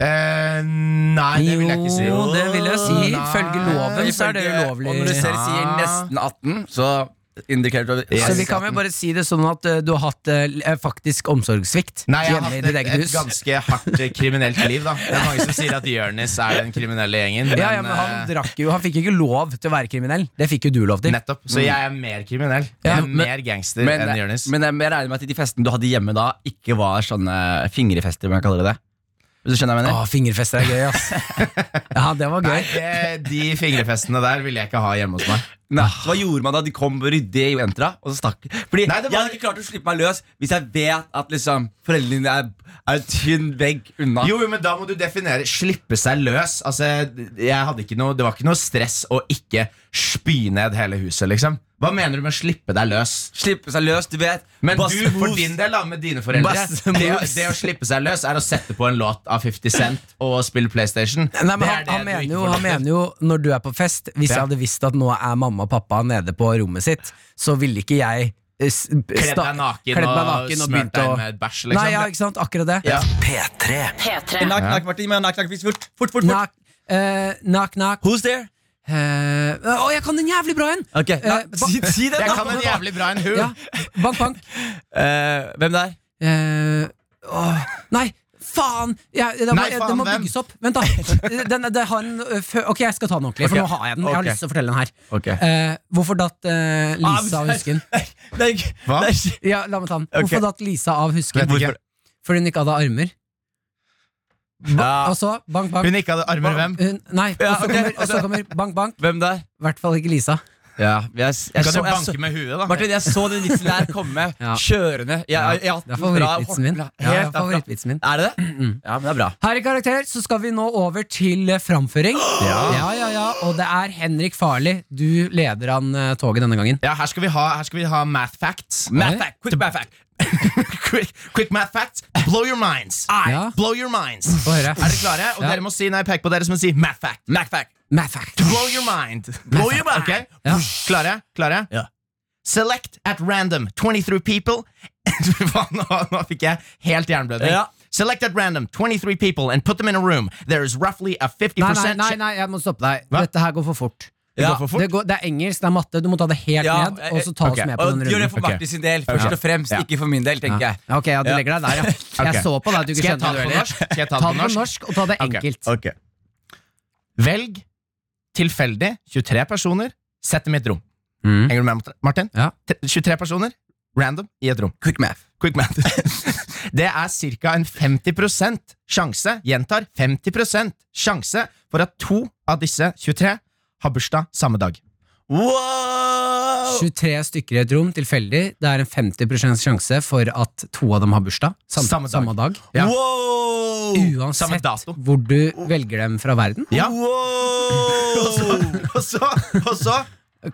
Speaker 3: Eh, nei, det vil jeg ikke si.
Speaker 5: Jo, det vil jeg si.
Speaker 3: Nei.
Speaker 5: Ifølge loven så er det
Speaker 12: Ifølge-
Speaker 5: ulovlig.
Speaker 12: Og når du ser sier nesten 18, så indikerer du at
Speaker 5: Så vi kan vel bare si det sånn at eh, du har hatt eh, l- eh, faktisk omsorgssvikt
Speaker 3: Nei, jeg har
Speaker 5: hjemme i
Speaker 3: hatt
Speaker 5: ditt
Speaker 3: et,
Speaker 5: eget
Speaker 3: et
Speaker 5: hus.
Speaker 3: ganske hardt eh, kriminelt liv, da. Det er mange som sier at Jonis er den kriminelle gjengen. Men,
Speaker 5: Ja, ja, men han
Speaker 3: eh,
Speaker 5: drakk jo, han fikk jo ikke lov til å være kriminell. Det fikk jo du lov til.
Speaker 3: nettopp. Så jeg er mer kriminell. Jeg
Speaker 5: Ja,
Speaker 3: er
Speaker 5: men-
Speaker 3: mer gangster
Speaker 12: Men, eh,
Speaker 3: enn Jonis.
Speaker 12: men jeg jeg regner med at de festene du hadde hjemme da, ikke var sånne fingrefester, om jeg kaller det det. Hvis du skjønner hva jeg
Speaker 5: Å,
Speaker 3: Ah,
Speaker 12: mener?
Speaker 5: fingerfester er gøy, ass. Ja, det var
Speaker 3: Nei,
Speaker 5: gøy.
Speaker 3: det- Eh, de fingrefestene der ville jeg ikke ha hjemme hos meg.
Speaker 12: Nei, så hva gjorde man da? De kom ryddig i entra, og så stakk Fordi
Speaker 3: Nei, det var-
Speaker 12: Jeg hadde ikke klart å slippe meg løs hvis jeg vet at liksom foreldrene dine er, er en tynn vegg unna.
Speaker 3: Jo, jo, men da må du definere slippe seg løs. Altså, jeg hadde ikke noe, Det var ikke noe stress å ikke spy ned hele huset, liksom. Hva mener du med å slippe deg løs?
Speaker 12: Slippe seg løs, du vet.
Speaker 3: Men
Speaker 12: Bass
Speaker 3: du, for
Speaker 12: moves.
Speaker 3: din del, da, med dine foreldre
Speaker 5: Bass
Speaker 3: det, å-
Speaker 5: moves.
Speaker 3: det å slippe seg løs er å sette på en låt av 50 Cent og spille PlayStation.
Speaker 5: Nei, men
Speaker 3: Det er
Speaker 5: han,
Speaker 3: det
Speaker 5: han,
Speaker 3: du
Speaker 5: mener
Speaker 3: ikke
Speaker 5: jo, han
Speaker 3: får lov til.
Speaker 5: mener jo når du er på fest Hvis jeg
Speaker 3: Ja.
Speaker 5: hadde visst at nå er mamma og pappa nede på rommet sitt, så ville ikke jeg eh, s-
Speaker 3: Kledd
Speaker 5: sta-
Speaker 3: deg naken
Speaker 5: kledd meg
Speaker 3: og
Speaker 5: naken og
Speaker 3: smørt
Speaker 5: begynt
Speaker 3: deg
Speaker 5: å-
Speaker 3: med bæsj,
Speaker 5: Nei,
Speaker 3: liksom.
Speaker 5: ja, ikke sant? Akkurat det.
Speaker 11: P3.
Speaker 1: P3.
Speaker 12: Knock, knock, Martin, men knock, knock, please, fort, fort, fort, fort.
Speaker 5: Knock, eh, knock, knock.
Speaker 12: Who's there?
Speaker 5: Eh, Å, jeg kan en jævlig bra en!
Speaker 12: Ok,
Speaker 5: Eh,
Speaker 12: nei, si, si det.
Speaker 3: Jeg
Speaker 12: da.
Speaker 3: kan en jævlig bra en hun.
Speaker 5: Ja, bank, bank.
Speaker 12: Eh, hvem det er?
Speaker 5: Eh, åh, nei, faen! Jeg, det, må,
Speaker 3: Nei, faen,
Speaker 5: det må
Speaker 3: hvem?
Speaker 5: bygges opp. Vent, da. Den, det har en, ø, fø- ok, jeg skal ta den ordentlig,
Speaker 12: Ok.
Speaker 5: for nå har jeg den. Jeg har
Speaker 12: Ok.
Speaker 5: lyst til å fortelle den her.
Speaker 12: Ok.
Speaker 5: Eh, hvorfor datt eh, Lisa
Speaker 12: Ah,
Speaker 5: av
Speaker 12: men-
Speaker 5: husken?
Speaker 12: Det er ikke-
Speaker 3: Hva?
Speaker 12: det er ikke-
Speaker 5: Ja, la meg ta den.
Speaker 12: Ok.
Speaker 5: Hvorfor datt Lisa av husken?
Speaker 3: Vet ikke.
Speaker 5: Fordi hun ikke hadde armer. Ba
Speaker 12: Ja.
Speaker 5: Og så bank, bank.
Speaker 3: Hun ikke hadde armer hvem?
Speaker 5: Hun, nei,
Speaker 12: Ah. Ja,
Speaker 5: og så
Speaker 12: ok.
Speaker 5: kommer, og så kommer bank, bank.
Speaker 12: Hvem det er?
Speaker 5: I hvert fall ikke Lisa.
Speaker 12: Ja, jeg, jeg,
Speaker 3: Hun kan
Speaker 12: så,
Speaker 3: jo
Speaker 12: jeg, så,
Speaker 3: banke med huet, da.
Speaker 12: Martin, jeg så den vitsen der komme
Speaker 5: Ja.
Speaker 12: kjørende. Jeg, jeg, jeg,
Speaker 5: Det er favorittvitsen min. Ja, det er favorittvitsen min.
Speaker 12: Er det det? Ja, men det er bra.
Speaker 5: Her i Karakter så skal vi nå over til eh, framføring. Ja. ja, ja, Og det er Henrik Farli. Du leder an eh, toget denne gangen.
Speaker 3: Ja, her skal vi ha, her skal vi ha math facts.
Speaker 12: Math fact, quick math fact.
Speaker 3: quick, quick math facts. Blow your minds.
Speaker 5: Ja.
Speaker 3: Blow your minds.
Speaker 5: Få høre.
Speaker 3: Er dere klare? Og
Speaker 5: Ja.
Speaker 3: dere må si når jeg peker på dere, så må dere si math fact.
Speaker 12: Math fact.
Speaker 5: Math fact.
Speaker 3: Blow your mind. Blow your mind. Okay?
Speaker 5: Ja.
Speaker 3: Klare? Klare?
Speaker 12: Ja.
Speaker 3: Select at random 23 people Faen, nå, nå fikk jeg helt jernblødning.
Speaker 12: Ja.
Speaker 3: Select at random 23 people and put them in a room. There is roughly a 50%
Speaker 5: Nei, nei, nei,
Speaker 3: chance-
Speaker 5: nei, jeg må stoppe deg.
Speaker 3: Hva?
Speaker 5: Dette her går for fort.
Speaker 12: Ja.
Speaker 3: går for fort?
Speaker 5: Det, går, det er engelsk, det er matte. Du må ta det helt
Speaker 12: Ja,
Speaker 5: ned, og så ta
Speaker 3: ok.
Speaker 6: eh,
Speaker 5: oss med på
Speaker 12: Og gjør
Speaker 5: den
Speaker 12: det
Speaker 5: runden.
Speaker 12: for Martin sin del, først og fremst. Ikke for min del, tenker
Speaker 5: Ja.
Speaker 12: jeg.
Speaker 5: Ok, ja, du
Speaker 12: Ja.
Speaker 5: legger deg der, ja. Jeg
Speaker 3: Ok.
Speaker 5: så på deg at du
Speaker 3: Skal
Speaker 5: ikke
Speaker 3: jeg ta
Speaker 5: kjente det
Speaker 3: det på
Speaker 5: heller.
Speaker 3: norsk? Skal jeg ta
Speaker 5: Ta
Speaker 3: det
Speaker 5: det på norsk, og ta det
Speaker 3: Ok,
Speaker 5: enkelt.
Speaker 3: ok. Velg tilfeldig 23 personer, sett dem i et rom.
Speaker 5: Mm.
Speaker 3: Henger du med, Martin?
Speaker 5: Ja.
Speaker 3: T- 23 personer, random, i et rom.
Speaker 12: Quick math.
Speaker 3: Quick math. Det er ca. en 50 sjanse, gjentar 50 sjanse, for at to av disse 23 har bursdag samme dag.
Speaker 12: Wow!
Speaker 5: 23 stykker i et rom, tilfeldig. Det er en 50 sjanse for at to av dem har bursdag. Samme,
Speaker 3: Samme dag.
Speaker 5: samme, dag.
Speaker 3: Ja.
Speaker 12: Wow!
Speaker 6: Oh,
Speaker 3: Samme
Speaker 5: Uansett
Speaker 3: dato.
Speaker 5: hvor du velger dem fra verden.
Speaker 3: Ja.
Speaker 12: Wow!
Speaker 3: Og så, og så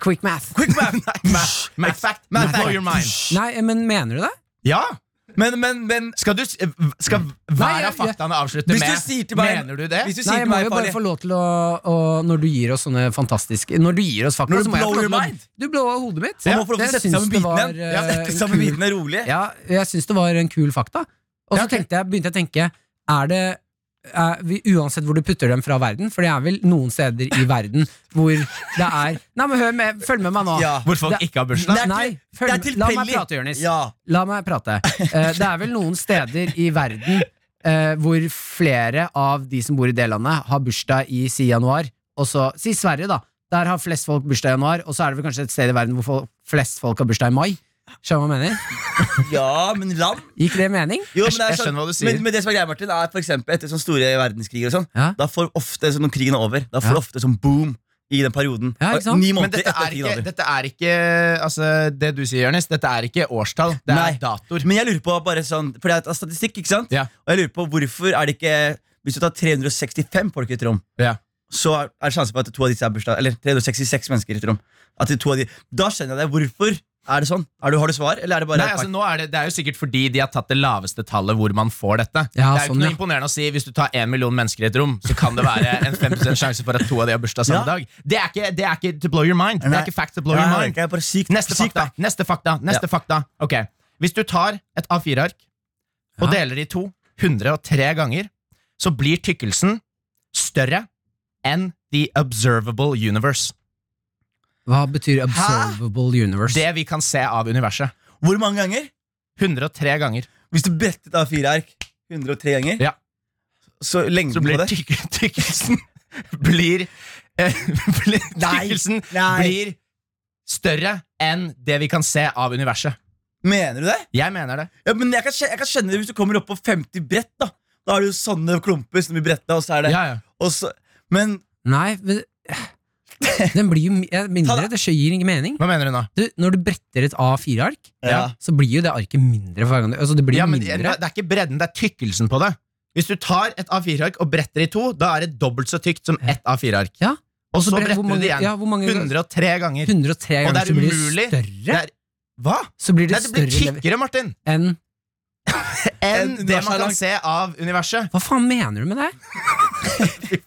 Speaker 5: Quick math.
Speaker 3: Quick math! Math, math fact. Math, blow your mind.
Speaker 5: Nei, men mener du det?
Speaker 3: Ja!
Speaker 6: Men, men, men
Speaker 3: Skal du s- eh, Skal
Speaker 5: Nei,
Speaker 3: hver
Speaker 5: jeg-
Speaker 3: av faktaene avslutte
Speaker 6: hvis
Speaker 3: med
Speaker 6: du sier til meg
Speaker 3: Mener du det?
Speaker 6: Hvis du
Speaker 5: Nei,
Speaker 6: sier
Speaker 5: jeg
Speaker 6: til
Speaker 5: må
Speaker 6: meg
Speaker 5: jo bare
Speaker 6: Farley
Speaker 5: få lov til å, å Når du gir oss sånne fantastiske Når du gir oss fakta,
Speaker 6: Når du
Speaker 5: så må jeg
Speaker 6: blow
Speaker 5: få
Speaker 6: your
Speaker 5: lov
Speaker 6: mind.
Speaker 5: til å Du blåa hodet mitt.
Speaker 6: Man må få lov til å
Speaker 5: Jeg
Speaker 6: sette
Speaker 5: syns
Speaker 6: sammen
Speaker 5: det var,
Speaker 6: bitene. Ja,
Speaker 5: eh,
Speaker 6: sette sammen
Speaker 5: kul-
Speaker 6: bitene rolig.
Speaker 5: Ja, jeg syns det var en kul fakta. Og så tenkte jeg, begynte jeg å tenke Er det er vi, Uansett hvor du putter dem fra verden, for det er vel noen steder i verden hvor det er Nei, men hør med, følg med meg nå.
Speaker 6: Ja.
Speaker 3: Hvor folk
Speaker 5: Det-
Speaker 3: ikke har bursdag?
Speaker 6: Det er til-
Speaker 5: Nei, følg,
Speaker 6: det er
Speaker 5: med- la meg
Speaker 6: tilfeldig.
Speaker 5: prate, Jonis.
Speaker 6: Ja.
Speaker 5: La meg prate. Eh, det er vel noen steder i verden eh, hvor flere av de som bor i det landet, har bursdag i si januar. Og så, si Sverige, da. Der har flest folk bursdag i januar, og så er det vel kanskje et sted i verden hvor folk, flest folk har bursdag i mai. Skjønner du hva jeg mener?
Speaker 6: ja, men land
Speaker 5: Gikk det mening?
Speaker 6: jo,
Speaker 3: Jeg-
Speaker 6: men det er sånn-
Speaker 3: jeg skjønner hva du sier.
Speaker 6: Men, men det som er greia, Martin, er for eksempel etter sånne store verdenskriger og sånn,
Speaker 5: Ja.
Speaker 6: da får ofte, så når krigen er over, da får
Speaker 5: Ja.
Speaker 6: ofte sånn boom i den perioden.
Speaker 5: Ja, ikke sant?
Speaker 6: Ni
Speaker 3: Men
Speaker 6: måneder
Speaker 3: dette
Speaker 6: etter
Speaker 3: er,
Speaker 6: krigen
Speaker 3: ikke,
Speaker 6: er over.
Speaker 3: dette er ikke Altså, det du sier, Jonis, dette er ikke årstall. Det er
Speaker 6: Nei.
Speaker 3: datoer.
Speaker 6: Men jeg lurer på bare sånn, for det er et statistikk, ikke sant?
Speaker 3: Ja.
Speaker 6: Og jeg lurer på hvorfor er det ikke Hvis du tar 365 folk i et rom,
Speaker 3: Ja.
Speaker 6: så er er det sjanse for at to av disse er bursdag Eller 366 mennesker i et rom. At de to av de, da skjønner jeg det. Hvorfor er det sånn? Er du, har du svar, eller er det bare
Speaker 3: Nei, altså nå er det, det er jo sikkert fordi de har tatt det laveste tallet hvor man får dette.
Speaker 5: Ja,
Speaker 3: det er jo
Speaker 5: sånn,
Speaker 3: ikke noe
Speaker 5: ja.
Speaker 3: imponerende å si hvis du tar en million mennesker i et rom, så kan det være en 5 sjanse for at to av de har bursdag samme
Speaker 6: Ja.
Speaker 3: dag. Det er, ikke, det er ikke to blow your mind. Det
Speaker 6: Nei.
Speaker 3: er ikke fact to blow
Speaker 6: Nei,
Speaker 3: your
Speaker 6: nei,
Speaker 3: mind.
Speaker 6: det er bare sykt,
Speaker 3: Neste
Speaker 6: sykt
Speaker 3: fakta. Neste fakta. Neste fakta. Ok. Hvis du tar et A4-ark og
Speaker 5: Ja.
Speaker 3: deler det i to 103 ganger, så blir tykkelsen større enn the observable universe.
Speaker 5: Hva betyr observable universe?
Speaker 3: Det vi kan se av universet.
Speaker 6: Hvor mange ganger?
Speaker 3: 103 ganger.
Speaker 6: Hvis du brettet av fire ark 103 ganger,
Speaker 3: Ja.
Speaker 6: så
Speaker 3: Så
Speaker 6: lengden
Speaker 3: blir
Speaker 6: på det
Speaker 3: tyk tykkelsen blir, eh, blir
Speaker 6: Nei,
Speaker 3: Tykkelsen
Speaker 6: nei.
Speaker 3: blir større enn det vi kan se av universet.
Speaker 6: Mener du det?
Speaker 3: Jeg mener det.
Speaker 6: Ja, men jeg kan, skjønne, jeg kan skjønne det hvis du kommer opp på 50 brett. Da Da har du jo sånne klumper som blir bretta, og så er det
Speaker 3: Ja, ja.
Speaker 6: og så, Men
Speaker 5: Nei, men den blir jo mi- eh, mindre. Det gir ikke mening.
Speaker 3: Hva mener du nå?
Speaker 5: Du, når du bretter et A4-ark,
Speaker 6: Ja.
Speaker 5: så blir jo det arket mindre for hver gang du Altså, det blir
Speaker 3: Ja, men det,
Speaker 5: mindre.
Speaker 3: det er ikke bredden, det er tykkelsen på det. Hvis du tar et A4-ark og bretter i to, da er det dobbelt så tykt som ett A4-ark.
Speaker 5: Ja.
Speaker 3: Og så
Speaker 5: Hvor
Speaker 3: bretter du
Speaker 5: mange-
Speaker 3: det igjen.
Speaker 5: Ja, hvor mange,
Speaker 3: 103 ganger.
Speaker 5: 103 ganger
Speaker 3: Og det er
Speaker 5: så blir det
Speaker 3: umulig. Det
Speaker 5: større.
Speaker 3: er, hva?
Speaker 5: Så blir det
Speaker 3: Nei, det blir
Speaker 5: større lever-
Speaker 3: tykkere, Martin,
Speaker 5: enn
Speaker 3: enn
Speaker 6: Enn
Speaker 3: det
Speaker 6: universet
Speaker 3: man
Speaker 6: er
Speaker 3: kan se av universet.
Speaker 5: Hva faen mener du med det?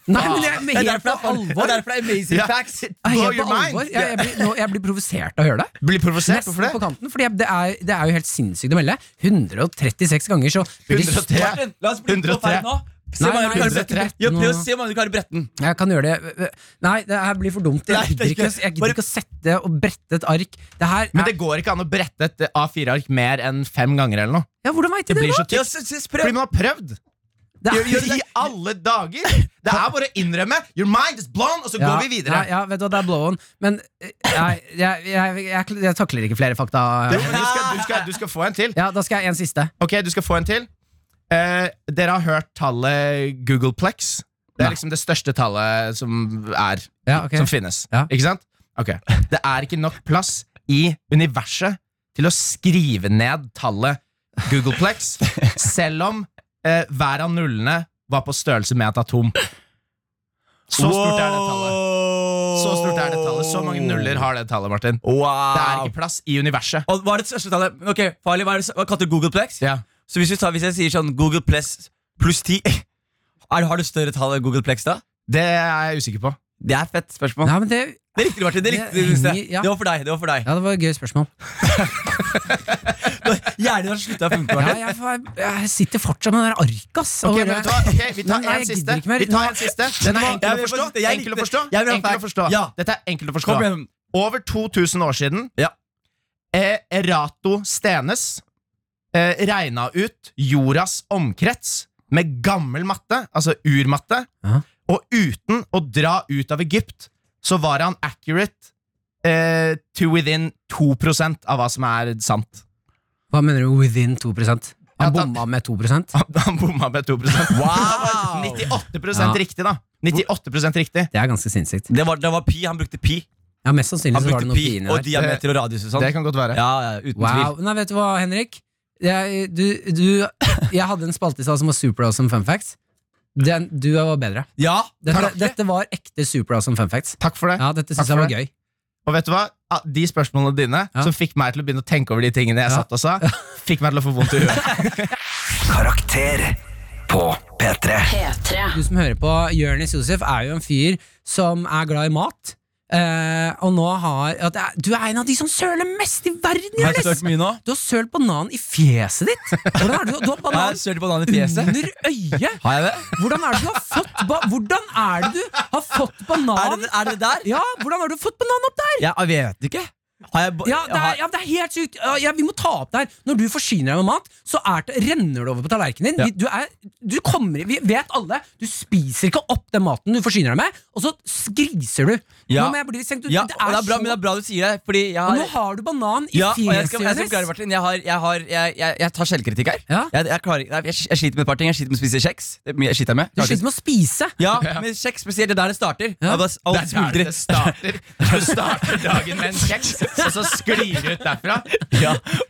Speaker 5: Nei, men jeg
Speaker 6: Det er
Speaker 5: helt
Speaker 6: derfor
Speaker 5: på
Speaker 6: det er, det
Speaker 5: alvor.
Speaker 6: er, derfor det er amazing
Speaker 3: Ja.
Speaker 6: facts.
Speaker 5: Jeg er
Speaker 3: Blow
Speaker 5: Helt på
Speaker 3: your
Speaker 5: alvor.
Speaker 3: mind.
Speaker 5: Jeg, jeg, blir, nå, jeg blir provosert av å høre det.
Speaker 3: Blir provosert.
Speaker 5: Nesten
Speaker 3: Hvorfor det?
Speaker 5: på kanten, fordi det er, det er jo helt sinnssykt å melde. 136 ganger, så blir det
Speaker 3: 103.
Speaker 6: Martin, la oss bli på
Speaker 3: 103.
Speaker 6: feil nå. Se
Speaker 5: Nei,
Speaker 6: om
Speaker 5: nei,
Speaker 6: du
Speaker 5: 103.
Speaker 6: klarer bretten. Ja, prøv å
Speaker 5: Nå-
Speaker 6: se om du klarer bretten.
Speaker 5: Jeg kan gjøre det Nei, det her blir for dumt. Jeg
Speaker 6: Nei, det er
Speaker 5: gidder ikke,
Speaker 6: ikke-
Speaker 5: jeg
Speaker 6: bare-
Speaker 5: gidder ikke å sette og brette et ark. Det her
Speaker 3: Men
Speaker 5: er,
Speaker 3: det går ikke an å brette et A4-ark mer enn fem ganger. eller noe
Speaker 5: ja, Hvordan veit jeg
Speaker 3: Det
Speaker 5: det?
Speaker 3: blir så
Speaker 6: Ja,
Speaker 3: tykt
Speaker 6: s- s-
Speaker 3: Fordi
Speaker 6: prøv.
Speaker 3: man har prøvd!
Speaker 5: Det er-
Speaker 3: I alle dager! Det er bare å innrømme. Your mind is blown, og så går vi videre.
Speaker 5: Nei, ja, vet du hva, det er blow-on. Men eh, nei, jeg, jeg, jeg, jeg takler ikke flere fakta.
Speaker 3: Du skal, du, skal, du skal få en til.
Speaker 5: Ja, Da skal jeg en siste.
Speaker 3: Ok, du skal få en til. Eh, dere har hørt tallet Googleplex. Det er
Speaker 5: Nei.
Speaker 3: liksom det største tallet som er
Speaker 5: Ja, ok.
Speaker 3: Som finnes.
Speaker 5: Ja.
Speaker 3: Ikke sant? Ok. Det er ikke nok plass i universet til å skrive ned tallet Googleplex, selv om eh, hver av nullene var på størrelse med et atom. Så stort er det tallet. Så stort er det tallet. Så mange nuller har det tallet, Martin. Det er
Speaker 6: Wow.
Speaker 3: ikke plass i universet.
Speaker 6: Og hva er det største tallet? Ok, farlig, hva, er det, s- hva kalte du Googleplex?
Speaker 3: Ja.
Speaker 6: Så hvis, vi tar, hvis jeg sier sånn Googleplex pluss 10 er, Har du større tall enn Googleplex da?
Speaker 3: Det er jeg usikker på.
Speaker 6: Det er fett spørsmål.
Speaker 5: Nei, men det,
Speaker 6: Det likte du, Martin. Det, likte,
Speaker 5: Det
Speaker 6: du, Stig.
Speaker 5: henger- ja.
Speaker 6: det var for deg. det var for deg
Speaker 5: ja, det var et gøy spørsmål.
Speaker 6: Hjernen har slutta å funke.
Speaker 5: Ja,
Speaker 6: Martin.
Speaker 5: jeg, jeg, jeg sitter fortsatt med den der ark, ass.
Speaker 3: Ok,
Speaker 5: Og
Speaker 3: men
Speaker 5: bare-
Speaker 3: vet du hva? Ok, vi tar
Speaker 5: Nei,
Speaker 3: en
Speaker 5: jeg
Speaker 3: siste.
Speaker 5: gidder ikke mer.
Speaker 3: Vi tar
Speaker 5: Nå-
Speaker 3: en siste. Den er
Speaker 6: Jeg
Speaker 3: enkel å
Speaker 6: vil
Speaker 3: forstå.
Speaker 6: bare si det. Jeg
Speaker 3: Enkel å
Speaker 6: likte-
Speaker 3: forstå.
Speaker 6: jeg vil ha
Speaker 3: Enkel å
Speaker 6: fact.
Speaker 3: forstå.
Speaker 6: Ja.
Speaker 3: Dette er enkel å forstå.
Speaker 6: Kom igjen.
Speaker 3: Over 2000 år siden
Speaker 6: Ja.
Speaker 3: eh, Erato Stenes eh, regna ut jordas omkrets med gammel matte, altså urmatte,
Speaker 5: Ja.
Speaker 3: og uten å dra ut av Egypt, så var han accurate eh, to within 2 av hva som er sant.
Speaker 5: Hva mener du within 2
Speaker 3: Ja,
Speaker 5: Han
Speaker 3: da-
Speaker 5: bomma med 2
Speaker 3: Han, han bomma med 2
Speaker 6: Wow!
Speaker 3: 98
Speaker 5: Ja.
Speaker 3: riktig, da. 98 riktig.
Speaker 5: Det er ganske sinnssykt.
Speaker 6: Det var, det var pi. Han brukte pi.
Speaker 5: Ja, Mest sannsynlig
Speaker 6: Han
Speaker 5: så var det
Speaker 6: brukte
Speaker 5: noe
Speaker 6: pi
Speaker 5: pi inni
Speaker 6: og
Speaker 5: der.
Speaker 6: diameter og radius og sånn.
Speaker 3: Det kan godt være.
Speaker 6: Ja, ja, uten tvil.
Speaker 5: Wow. Nei, vet du hva, Henrik? Jeg, du, du, jeg hadde en spalte i stad som var super awesome fun facts. Den, du var bedre.
Speaker 6: Ja,
Speaker 5: Dette,
Speaker 3: Takk.
Speaker 5: dette var ekte super awesome fun facts.
Speaker 3: Takk for det.
Speaker 5: Ja, dette
Speaker 3: Takk
Speaker 5: syns jeg
Speaker 3: for
Speaker 5: var
Speaker 3: det.
Speaker 5: gøy.
Speaker 3: Og vet du hva? Ah, De spørsmålene dine som fikk meg til å begynne å tenke over de tingene jeg satt og sa, fikk meg til å få vondt i huet.
Speaker 11: Karakter på P3.
Speaker 1: P3.
Speaker 5: Du som hører på, Jonis Josef er jo en fyr som er glad i mat. eh, og nå har at det er, Du er en av de som søler mest i verden!
Speaker 6: Har jeg
Speaker 5: Jonis!
Speaker 6: sølt mye nå?
Speaker 5: Du har sølt banan i fjeset ditt! Hvordan er det, du- du har
Speaker 6: Jeg har
Speaker 5: banan
Speaker 6: sølt banan i fjeset.
Speaker 5: under øyet!
Speaker 6: Har jeg det?
Speaker 5: Hvordan er det du har fått ba Hvordan er det du har fått
Speaker 6: Er
Speaker 5: banan
Speaker 6: det, er det der?
Speaker 5: Ja, hvordan har du fått banan opp der?
Speaker 6: Jeg, jeg vet ikke. Har jeg, ba-
Speaker 5: Ja, det er,
Speaker 6: har,
Speaker 5: ja, det er helt sykt. Ja, ja, vi må ta opp det her. Når du forsyner deg med mat, så er det, renner det over på tallerkenen din. Vi, du er, du kommer, vi vet alle, du spiser ikke opp den maten du forsyner deg med, og så skriser du.
Speaker 6: Ja.
Speaker 5: Nå må jeg bli litt senkt ut.
Speaker 6: ja,
Speaker 5: det
Speaker 6: og
Speaker 5: er
Speaker 6: det er bra,
Speaker 5: så-
Speaker 6: men det er bra du sier det. Fordi jeg
Speaker 5: Og nå
Speaker 6: har
Speaker 5: har du banan i
Speaker 6: ja,
Speaker 5: fjeset,
Speaker 6: og jeg, skal, jeg, skal forklare,
Speaker 5: Jonis.
Speaker 6: Martin. Jeg, har, jeg, har, jeg, jeg, jeg tar selvkritikk her.
Speaker 5: Ja.
Speaker 6: Jeg, jeg, klarer, jeg, jeg sliter med et par ting. Jeg sliter med å spise kjeks. Det er mye jeg sliter med.
Speaker 5: Du sliter med å spise.
Speaker 6: Ja, men kjeks spesielt. Det er der det starter.
Speaker 5: Ja.
Speaker 6: Ja. Bare, alt
Speaker 3: Det er der
Speaker 6: smuldrer.
Speaker 3: det starter. Du starter dagen med en kjeks, og så sklir du ut derfra.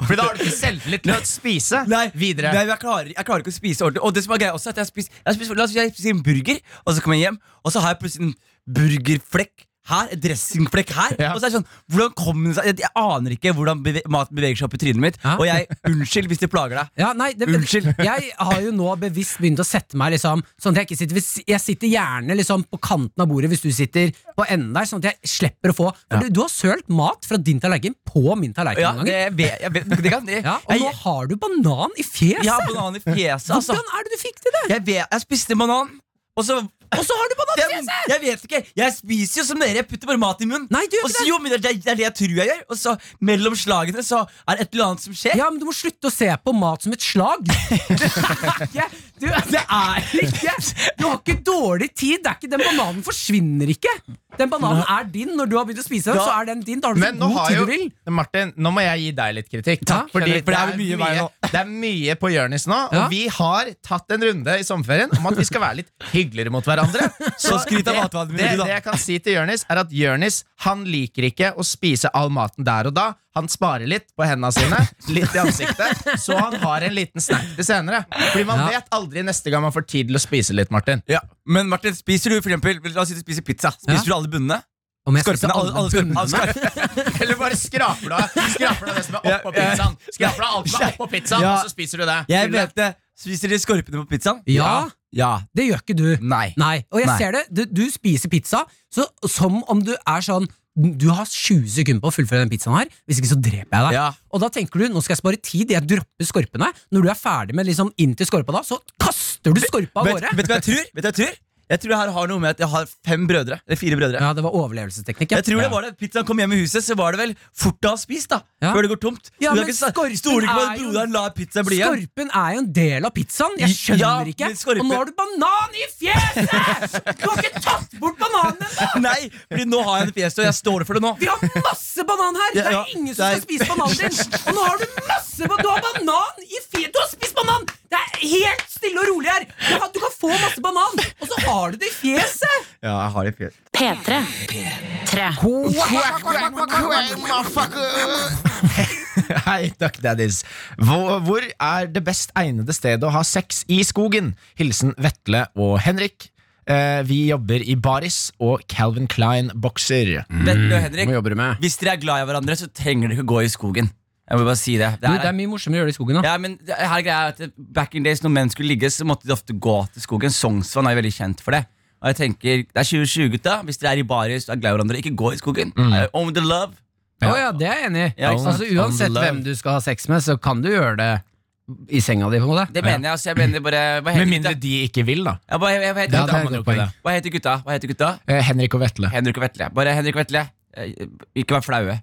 Speaker 3: For da har du ikke selvtillit til å spise
Speaker 6: Nei,
Speaker 3: videre.
Speaker 6: Nei, men jeg, klarer, jeg klarer ikke å spise ordentlig. Og det som er greia også er at jeg spiser, jeg spiser, La oss si jeg spiser en burger, og så kommer jeg hjem, og så har jeg plutselig en burgerflekk her. En dressingflekk her.
Speaker 3: Ja.
Speaker 6: Og så er det sånn, hvordan kom den seg Jeg, jeg aner ikke hvordan beve, maten beveger seg opp i trynet mitt.
Speaker 5: Ja.
Speaker 6: Og jeg, unnskyld hvis det plager deg.
Speaker 5: Ja, nei, det,
Speaker 6: Unnskyld.
Speaker 5: Jeg har jo nå bevisst begynt å sette meg liksom, sånn at jeg ikke sitter ved si- Jeg sitter gjerne liksom på kanten av bordet hvis du sitter på enden der, sånn at jeg slipper å få For du, du har sølt mat fra din tallerken på min tallerken
Speaker 6: Ja,
Speaker 5: noen
Speaker 6: det,
Speaker 5: ganger.
Speaker 6: jeg vet, jeg vet, det kan de.
Speaker 5: Ja, og nå
Speaker 6: jeg,
Speaker 5: har du banan i fjeset!
Speaker 6: jeg har banan i fjeset, altså.
Speaker 5: Hvordan er det du fikk til det?
Speaker 6: Jeg, vet, jeg spiste banan, og så
Speaker 5: Og så har du banan i
Speaker 6: jeg,
Speaker 5: fjeset!
Speaker 6: jeg vet ikke. Jeg spiser jo som dere. Jeg putter bare mat i munnen.
Speaker 5: Nei, du gjør
Speaker 6: og
Speaker 5: ikke
Speaker 6: så,
Speaker 5: det.
Speaker 6: jo, men det, er- det er det jeg tror jeg gjør. Og så mellom slagene så er det et eller annet som skjer.
Speaker 5: Ja, men du må slutte å se på mat som et slag! Det er ikke, du, det er ikke Du har ikke dårlig tid! Det er ikke, den bananen forsvinner ikke! Den bananen er din når du har begynt å spise den.
Speaker 6: Ja.
Speaker 5: Så er den din, da har du
Speaker 6: Altså,
Speaker 5: så
Speaker 3: Men nå
Speaker 5: god
Speaker 3: har
Speaker 5: tid
Speaker 3: jo
Speaker 5: du vil.
Speaker 3: Martin, nå må jeg gi deg litt kritikk.
Speaker 5: Takk.
Speaker 3: Fordi
Speaker 6: For det er mye vei nå.
Speaker 3: det er mye på Jonis nå,
Speaker 5: Ja.
Speaker 3: og vi har tatt en runde i sommerferien om at vi skal være litt hyggeligere mot hverandre.
Speaker 6: Så skryt av
Speaker 3: det-
Speaker 6: matvanene mine,
Speaker 3: det,
Speaker 6: du da.
Speaker 3: det jeg kan si til Jonis, er at Jonis han liker ikke å spise all maten der og da. Han sparer litt på hendene sine, litt i ansiktet, så han har en liten snack til senere. Fordi man
Speaker 5: Ja.
Speaker 3: vet aldri neste gang man får tid til å spise litt, Martin.
Speaker 6: Ja, Men Martin, spiser du for eksempel, la oss si du spiser pizza. Spiser
Speaker 5: Ja.
Speaker 6: du alle bunnene?
Speaker 5: Om jeg
Speaker 6: Skorpene?
Speaker 5: spiser
Speaker 6: Alle, alle skorpene.
Speaker 5: bunnene?
Speaker 6: Alle skorpene.
Speaker 3: Eller bare skraper du av Skraper du av det som er oppå
Speaker 6: Ja, ja.
Speaker 3: pizzaen. Skraper du av alt som er oppå pizzaen,
Speaker 6: Ja.
Speaker 3: og så spiser du det.
Speaker 6: Jeg
Speaker 3: Til det.
Speaker 6: vet det. Spiser de skorpene på pizzaen?
Speaker 5: Ja,
Speaker 6: Ja.
Speaker 5: det gjør ikke du.
Speaker 6: Nei.
Speaker 5: Nei, og jeg
Speaker 6: Nei.
Speaker 5: ser det. Du, du spiser pizza så, som om du er sånn Du har 20 sekunder på å fullføre den pizzaen her, hvis ikke så dreper jeg deg.
Speaker 6: Ja.
Speaker 5: Og da tenker du nå skal jeg spare tid, jeg dropper skorpene. Når du er ferdig med liksom inn til skorpa, da, så kaster du skorpa av
Speaker 6: Vet,
Speaker 5: gårde.
Speaker 6: vet du hva jeg tror? Vet du hva Jeg tror Jeg tror jeg her har noe med at jeg har fem brødre. Eller fire brødre.
Speaker 5: Ja, det var overlevelsesteknikk.
Speaker 6: Jeg tror det var det Pizzaen kom hjem i huset, så var det vel fort å ha spist, da.
Speaker 5: Ja.
Speaker 6: Før det går tomt.
Speaker 5: Ja, men
Speaker 6: du kan ikke sta-
Speaker 5: skorpen
Speaker 6: stole ikke på
Speaker 5: er
Speaker 6: at
Speaker 5: jo-
Speaker 6: broderen lar pizza bli igjen.
Speaker 5: Skorpen er jo en del av pizzaen. Jeg skjønner
Speaker 6: Ja,
Speaker 5: ikke.
Speaker 6: men skorpen-
Speaker 5: Og nå har du banan i fjeset! Du har ikke tatt bort bananen ennå!
Speaker 6: Nei, fordi nå har jeg en fjes, og jeg står for det nå.
Speaker 5: Vi har masse banan her! Det
Speaker 6: Ja, ja.
Speaker 5: er ingen som
Speaker 6: Det
Speaker 5: skal
Speaker 6: er-
Speaker 5: spise bananen din! Og nå har du masse ba- Du har banan i fjeset! Du har spist banan! Det er helt stille og rolig her! Du, har, du kan få masse banan, og så har du det i fjeset!
Speaker 6: Ja, jeg har en fjes.
Speaker 1: P3. P3.
Speaker 3: Hei, Duck Daddies. Hvor, hvor er det best egnede stedet å ha sex i skogen? Hilsen Vetle og Henrik. Eh, vi jobber i baris og Calvin Klein bokser.
Speaker 6: Vetle og Henrik,
Speaker 13: Hva jobber du med?
Speaker 6: hvis dere er glad i hverandre, så trenger dere ikke gå i skogen. Jeg må bare si det. det, er,
Speaker 5: mye morsommere å gjøre det i skogen,
Speaker 6: ja, men det her er greia at Back in days, når menn skulle ligge, så måtte de ofte gå til skogen. Sognsvann er jo veldig kjent for det. Og jeg tenker, Det er 2020, gutta. Hvis dere er i baris og er glad i hverandre, ikke gå i skogen.
Speaker 5: Mm.
Speaker 6: Eh, Own the love.
Speaker 13: Å ja, det er jeg enig i.
Speaker 6: Ja, ikke sant?
Speaker 13: altså, uansett hvem du skal ha sex med, så kan du gjøre det i senga di, på en måte.
Speaker 6: Det mener jeg. altså, jeg mener bare Hva
Speaker 3: Med
Speaker 6: heter
Speaker 3: mindre
Speaker 6: gutta?
Speaker 3: de ikke vil, da.
Speaker 6: Ja, hva, hva, heter gutta?
Speaker 3: Ja, det er et godt poeng.
Speaker 6: hva heter gutta? Hva heter gutta?
Speaker 3: Eh, Henrik og Vetle.
Speaker 6: Henrik og Vetle. Bare Henrik og Vetle. eh, Ikke vær flaue.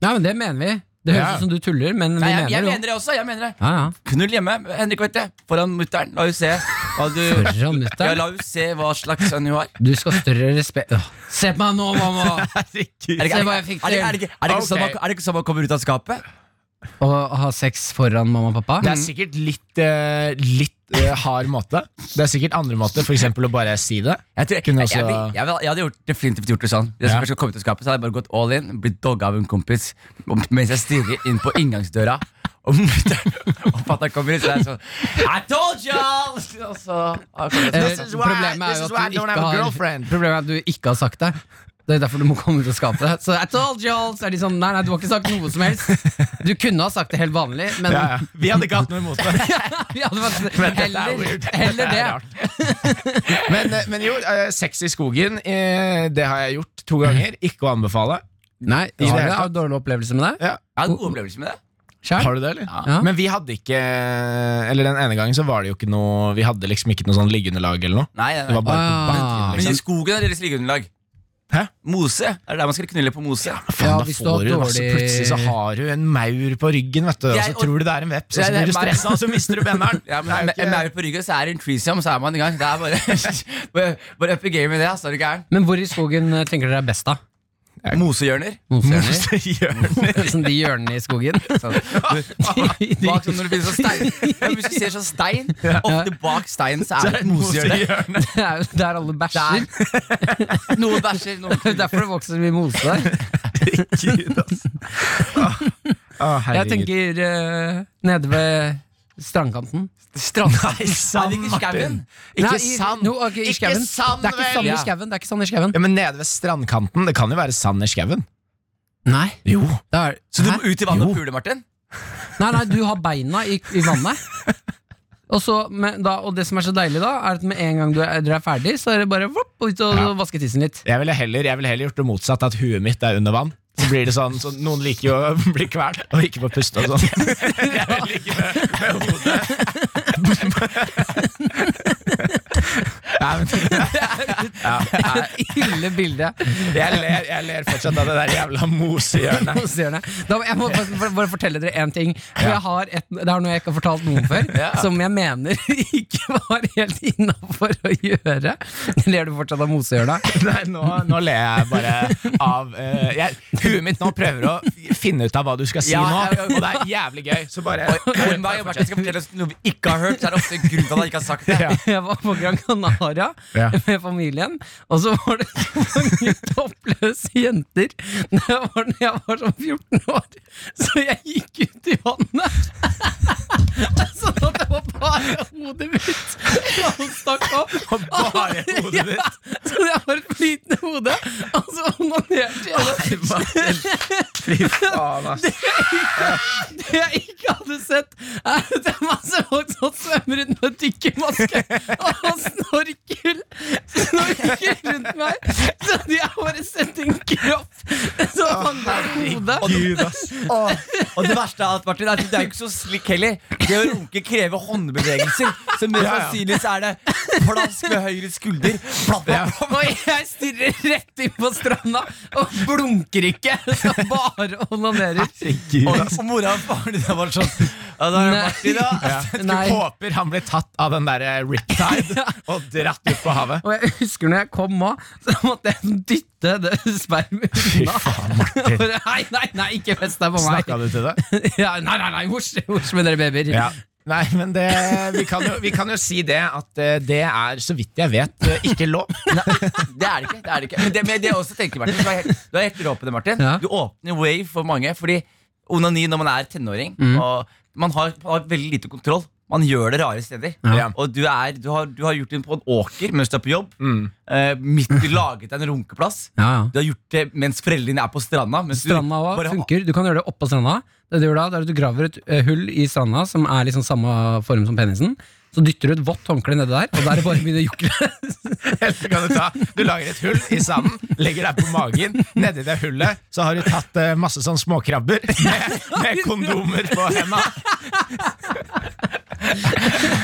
Speaker 5: Nei, men det mener vi. Det
Speaker 3: høres Ja. ut som
Speaker 5: du tuller, men
Speaker 6: Nei, jeg, jeg mener det også. jeg mener det
Speaker 5: Ja, ja.
Speaker 6: Knull hjemme, Henrik, vet du. Foran mutter'n. La henne se hva du
Speaker 5: Foran
Speaker 6: ja,
Speaker 5: mutter'n.
Speaker 6: La henne se hva slags sønn hun har.
Speaker 5: Du skal ha større respekt Åh, Se på meg nå, mamma!
Speaker 6: Er det,
Speaker 5: Se
Speaker 6: ikke-
Speaker 5: hva jeg fikk
Speaker 6: er det,
Speaker 5: til.
Speaker 6: er det, ikke- er det ikke sånn man- er det ikke sånn man kommer ut av skapet?
Speaker 5: Å ha sex foran mamma og pappa?
Speaker 3: Det er sikkert litt, eh, litt eh, hard måte. Det er sikkert andre måter, f.eks. å bare si det.
Speaker 6: Jeg, tror jeg,
Speaker 3: Kunne
Speaker 6: jeg,
Speaker 3: også-
Speaker 6: jeg, vil- jeg, vil- jeg hadde gjort, definitivt gjort det sånn. Hvis
Speaker 3: Ja.
Speaker 6: jeg først kom ut av skapet, så hadde jeg bare gått all in, blitt dogga av en kompis og- mens jeg stirrer inn på inngangsdøra. Og mutter'n og fatter'n kommer ut, så er jeg sånn I told y'all! Og så, og så,
Speaker 13: Eh, problemet er jo at du ikke har Problemet er at du ikke har sagt det.
Speaker 5: Det er derfor du må komme ut av skapet. Så I told you all, så er de sånn Nei, nei, du har ikke sagt noe som helst. Du kunne ha sagt det helt vanlig, men
Speaker 3: Ja, ja. Vi hadde ikke hatt noe imot det.
Speaker 5: Vi hadde faktisk- heller, heller det.
Speaker 3: Men, eh, men jo, eh, sex i skogen, eh, det har jeg gjort to ganger. Ikke å anbefale.
Speaker 5: Nei,
Speaker 3: det
Speaker 5: har
Speaker 3: hele
Speaker 5: du har du dårlig opplevelse med det?
Speaker 3: Ja.
Speaker 6: Jeg hadde gode opplevelser med det.
Speaker 5: Sjæl?
Speaker 3: Har du det, eller?
Speaker 5: Ja.
Speaker 3: Men vi hadde ikke eh, Eller den ene gangen så var det jo ikke noe Vi hadde liksom ikke noe sånn liggeunderlag eller noe.
Speaker 6: Nei,
Speaker 3: Det
Speaker 6: nei,
Speaker 3: var
Speaker 6: nei.
Speaker 3: bare på
Speaker 5: Ah.
Speaker 3: bakken.
Speaker 6: Men i
Speaker 3: Liksom.
Speaker 6: skogen er deres liggeunderlag.
Speaker 3: Hæ?
Speaker 6: Mose. Er det der man skal knulle på mose?
Speaker 3: Faen,
Speaker 5: Ja,
Speaker 3: da
Speaker 5: hvis du har
Speaker 3: får du masse
Speaker 5: dårlig-
Speaker 3: Plutselig så har du en maur på ryggen, vet du, og
Speaker 6: Jeg-
Speaker 3: så tror du det er en veps, og så
Speaker 6: Nei,
Speaker 3: blir du
Speaker 6: nei, nei.
Speaker 3: stressa, og så mister du benderen.
Speaker 6: Ja, men
Speaker 3: Det er jo
Speaker 6: med,
Speaker 3: ikke-
Speaker 6: med på ryggen så er det en threesome, så er man i gang. Det er bare, bare, bare up the game i det, altså. Er du gæren?
Speaker 5: Men hvor i skogen eh, tenker dere er best, da?
Speaker 6: Mosehjørner.
Speaker 5: Mosehjørner? Sånn de hjørnene i skogen? Sånn. De- de-
Speaker 6: Bak sånn når det finnes sånn stein. Ja, men hvis du ser sånn stein, ofte bak steinen så er det et mosehjørne.
Speaker 3: Mosehjørne.
Speaker 5: Det er jo der alle bæsjer.
Speaker 6: Noen bæsjer, noen
Speaker 5: Det er derfor det vokser så mye mose der.
Speaker 3: Å,
Speaker 5: Jeg
Speaker 3: Ah, herregud.
Speaker 5: tenker eh, nede ved strandkanten.
Speaker 6: Strandstein.
Speaker 3: Nei, sand,
Speaker 6: Nei, det er ikke skauen.
Speaker 3: Martin. Ikke
Speaker 5: Nei, i-
Speaker 3: sand.
Speaker 5: no, ok, i
Speaker 3: Ikke
Speaker 5: skauen.
Speaker 3: sand,
Speaker 5: Det er ikke sand
Speaker 3: vel?
Speaker 5: i skauen. Det er ikke sand i skauen.
Speaker 3: Ja, men nede ved strandkanten. Det kan jo være sand i skauen.
Speaker 5: Nei,
Speaker 3: Jo.
Speaker 5: det er,
Speaker 6: Så du
Speaker 5: Hæ?
Speaker 6: må ut i vannet og
Speaker 3: Jo.
Speaker 6: pule, Martin?
Speaker 5: nei, nei, du har beina i, i vannet. Og, så, men da, og det som er så deilig, da, er at med en gang du er, dere er ferdig, så er det bare vopp, ut og,
Speaker 3: Ja.
Speaker 5: og vaske tissen litt.
Speaker 3: Jeg ville heller, jeg ville heller gjort det motsatt, at huet mitt er under vann. Så blir det sånn, så Noen liker jo å bli kvalt og ikke få puste og sånn. Jeg liker med, med hodet. Nei, men, ja, nei,
Speaker 5: Ille bilde.
Speaker 3: jeg, ler, jeg ler fortsatt av det der jævla mosehjørnet.
Speaker 5: Mosehjørnet. Da, må- jeg må faktisk bare- bare fortelle dere én ting. For jeg har et, det er noe jeg ikke har fortalt noen før, som jeg mener ikke var helt innafor å gjøre. Ler du fortsatt av mosehjørnet?
Speaker 3: Nei, nå, nå ler jeg bare av eh, jeg, Huet mitt nå prøver å finne ut av hva du skal si
Speaker 6: Ja, ja,
Speaker 3: nå,
Speaker 6: ja.
Speaker 3: og det er jævlig gøy. Så bare
Speaker 6: Og hver gang Martin skal fortelle oss noe vi ikke har hørt, så er det ofte en grunn til at han ikke har sagt det.
Speaker 3: Ja.
Speaker 5: Jeg var på Gran Canaria
Speaker 3: Ja.
Speaker 5: med familien, og så var det så mange toppløse jenter. Det var da jeg var sånn 14 år, så jeg gikk ut i vannet. Sånn at det var bare hodet mitt som stakk opp.
Speaker 3: Og bare hodet ditt.
Speaker 5: Ja, så det var et flytende hode, og så onanerte jeg. det.
Speaker 3: Faen, ass.
Speaker 5: Det jeg ikke hadde sett, er at det er masse folk som svømmer rundt med dykkermaske og snorkel Snorkel rundt meg. Så de har bare sett en kropp som handler om hodet.
Speaker 3: Gud, ass.
Speaker 6: Og, og det verste av alt, Martin, er at det er jo ikke så slik heller. Det å runke krever håndbevegelser. Så mest
Speaker 3: Ja, ja.
Speaker 6: sannsynlig så er det plask ved høyre skulder. Plapp, plapp, plapp.
Speaker 5: Og jeg stirrer rett inn på stranda og blunker ikke, så bare onanerer.
Speaker 6: Og, og mora og faren din var sånn Ja, da er det
Speaker 5: Nei.
Speaker 6: Martin, da.
Speaker 5: Nei.
Speaker 3: Du håper han blir tatt av den der eh, riptide og dratt ut på havet.
Speaker 5: Og jeg husker når jeg kom òg, så måtte jeg dytte det spermet unna. Bare, Nei, nei, nei, ikke fest deg på meg.
Speaker 3: Snakka du til det?
Speaker 5: Ja, nei, nei, nei, hors, hors med dere babyer.
Speaker 3: Ja. Nei, men det, vi, kan jo, vi kan jo si det at eh, det er, så vidt jeg vet, eh, ikke lov.
Speaker 6: Det er det ikke. det er det ikke Men det, men det jeg også tenker, Martin Du er helt, du er helt rå på det, Martin.
Speaker 5: Ja.
Speaker 6: Du åpner way for mange. Fordi onani når man er tenåring
Speaker 5: Mm.
Speaker 6: og man har, man har veldig lite kontroll. Man gjør det rare steder.
Speaker 3: Ja.
Speaker 6: Og du, er, du, har, du har gjort det på en åker mens du er på jobb. Eh, midt i laget deg en runkeplass.
Speaker 5: Ja, ja.
Speaker 6: Du har gjort det mens foreldrene dine er på stranda. Mens du
Speaker 5: Stranda også
Speaker 6: bare-
Speaker 5: funker. Du kan gjøre det oppå stranda. Det Du gjør da, det er at du graver et eh, hull i stranda som er liksom samme form som penisen. Så dytter du et vått håndkle nedi der, og da er det bare å begynne å jukle.
Speaker 3: Eller så kan du, ta, du lager et hull i sanden, legger deg på magen. Nedi det hullet så har du tatt eh, masse sånn småkrabber med, med kondomer på henda.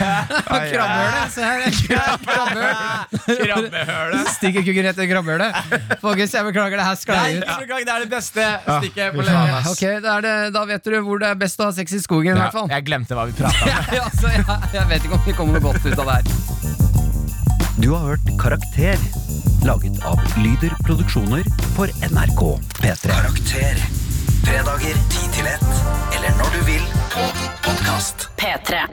Speaker 5: Krabbehølet! Se her, krabbehøl!
Speaker 3: Krabbehølet.
Speaker 5: Stikker kukken rett i krabbehølet. Folkens, jeg beklager, det her
Speaker 6: Nei,
Speaker 5: sklei ut.
Speaker 6: ikke noen gang, det er det beste stikket på
Speaker 3: faen,
Speaker 6: lenge.
Speaker 3: ass.
Speaker 5: Ok, da, er det, da vet du hvor det er best å ha sex i skogen, i
Speaker 3: Ja,
Speaker 5: hvert fall.
Speaker 3: jeg glemte hva vi prata om.
Speaker 5: Ja, altså, jeg, jeg vet ikke om vi kommer noe godt ut av det her.
Speaker 11: Du har hørt Karakter, laget av Lyder Produksjoner for NRK P3. Karakter. Fredager 10 til 1, eller når du vil, på podkast.
Speaker 1: P3.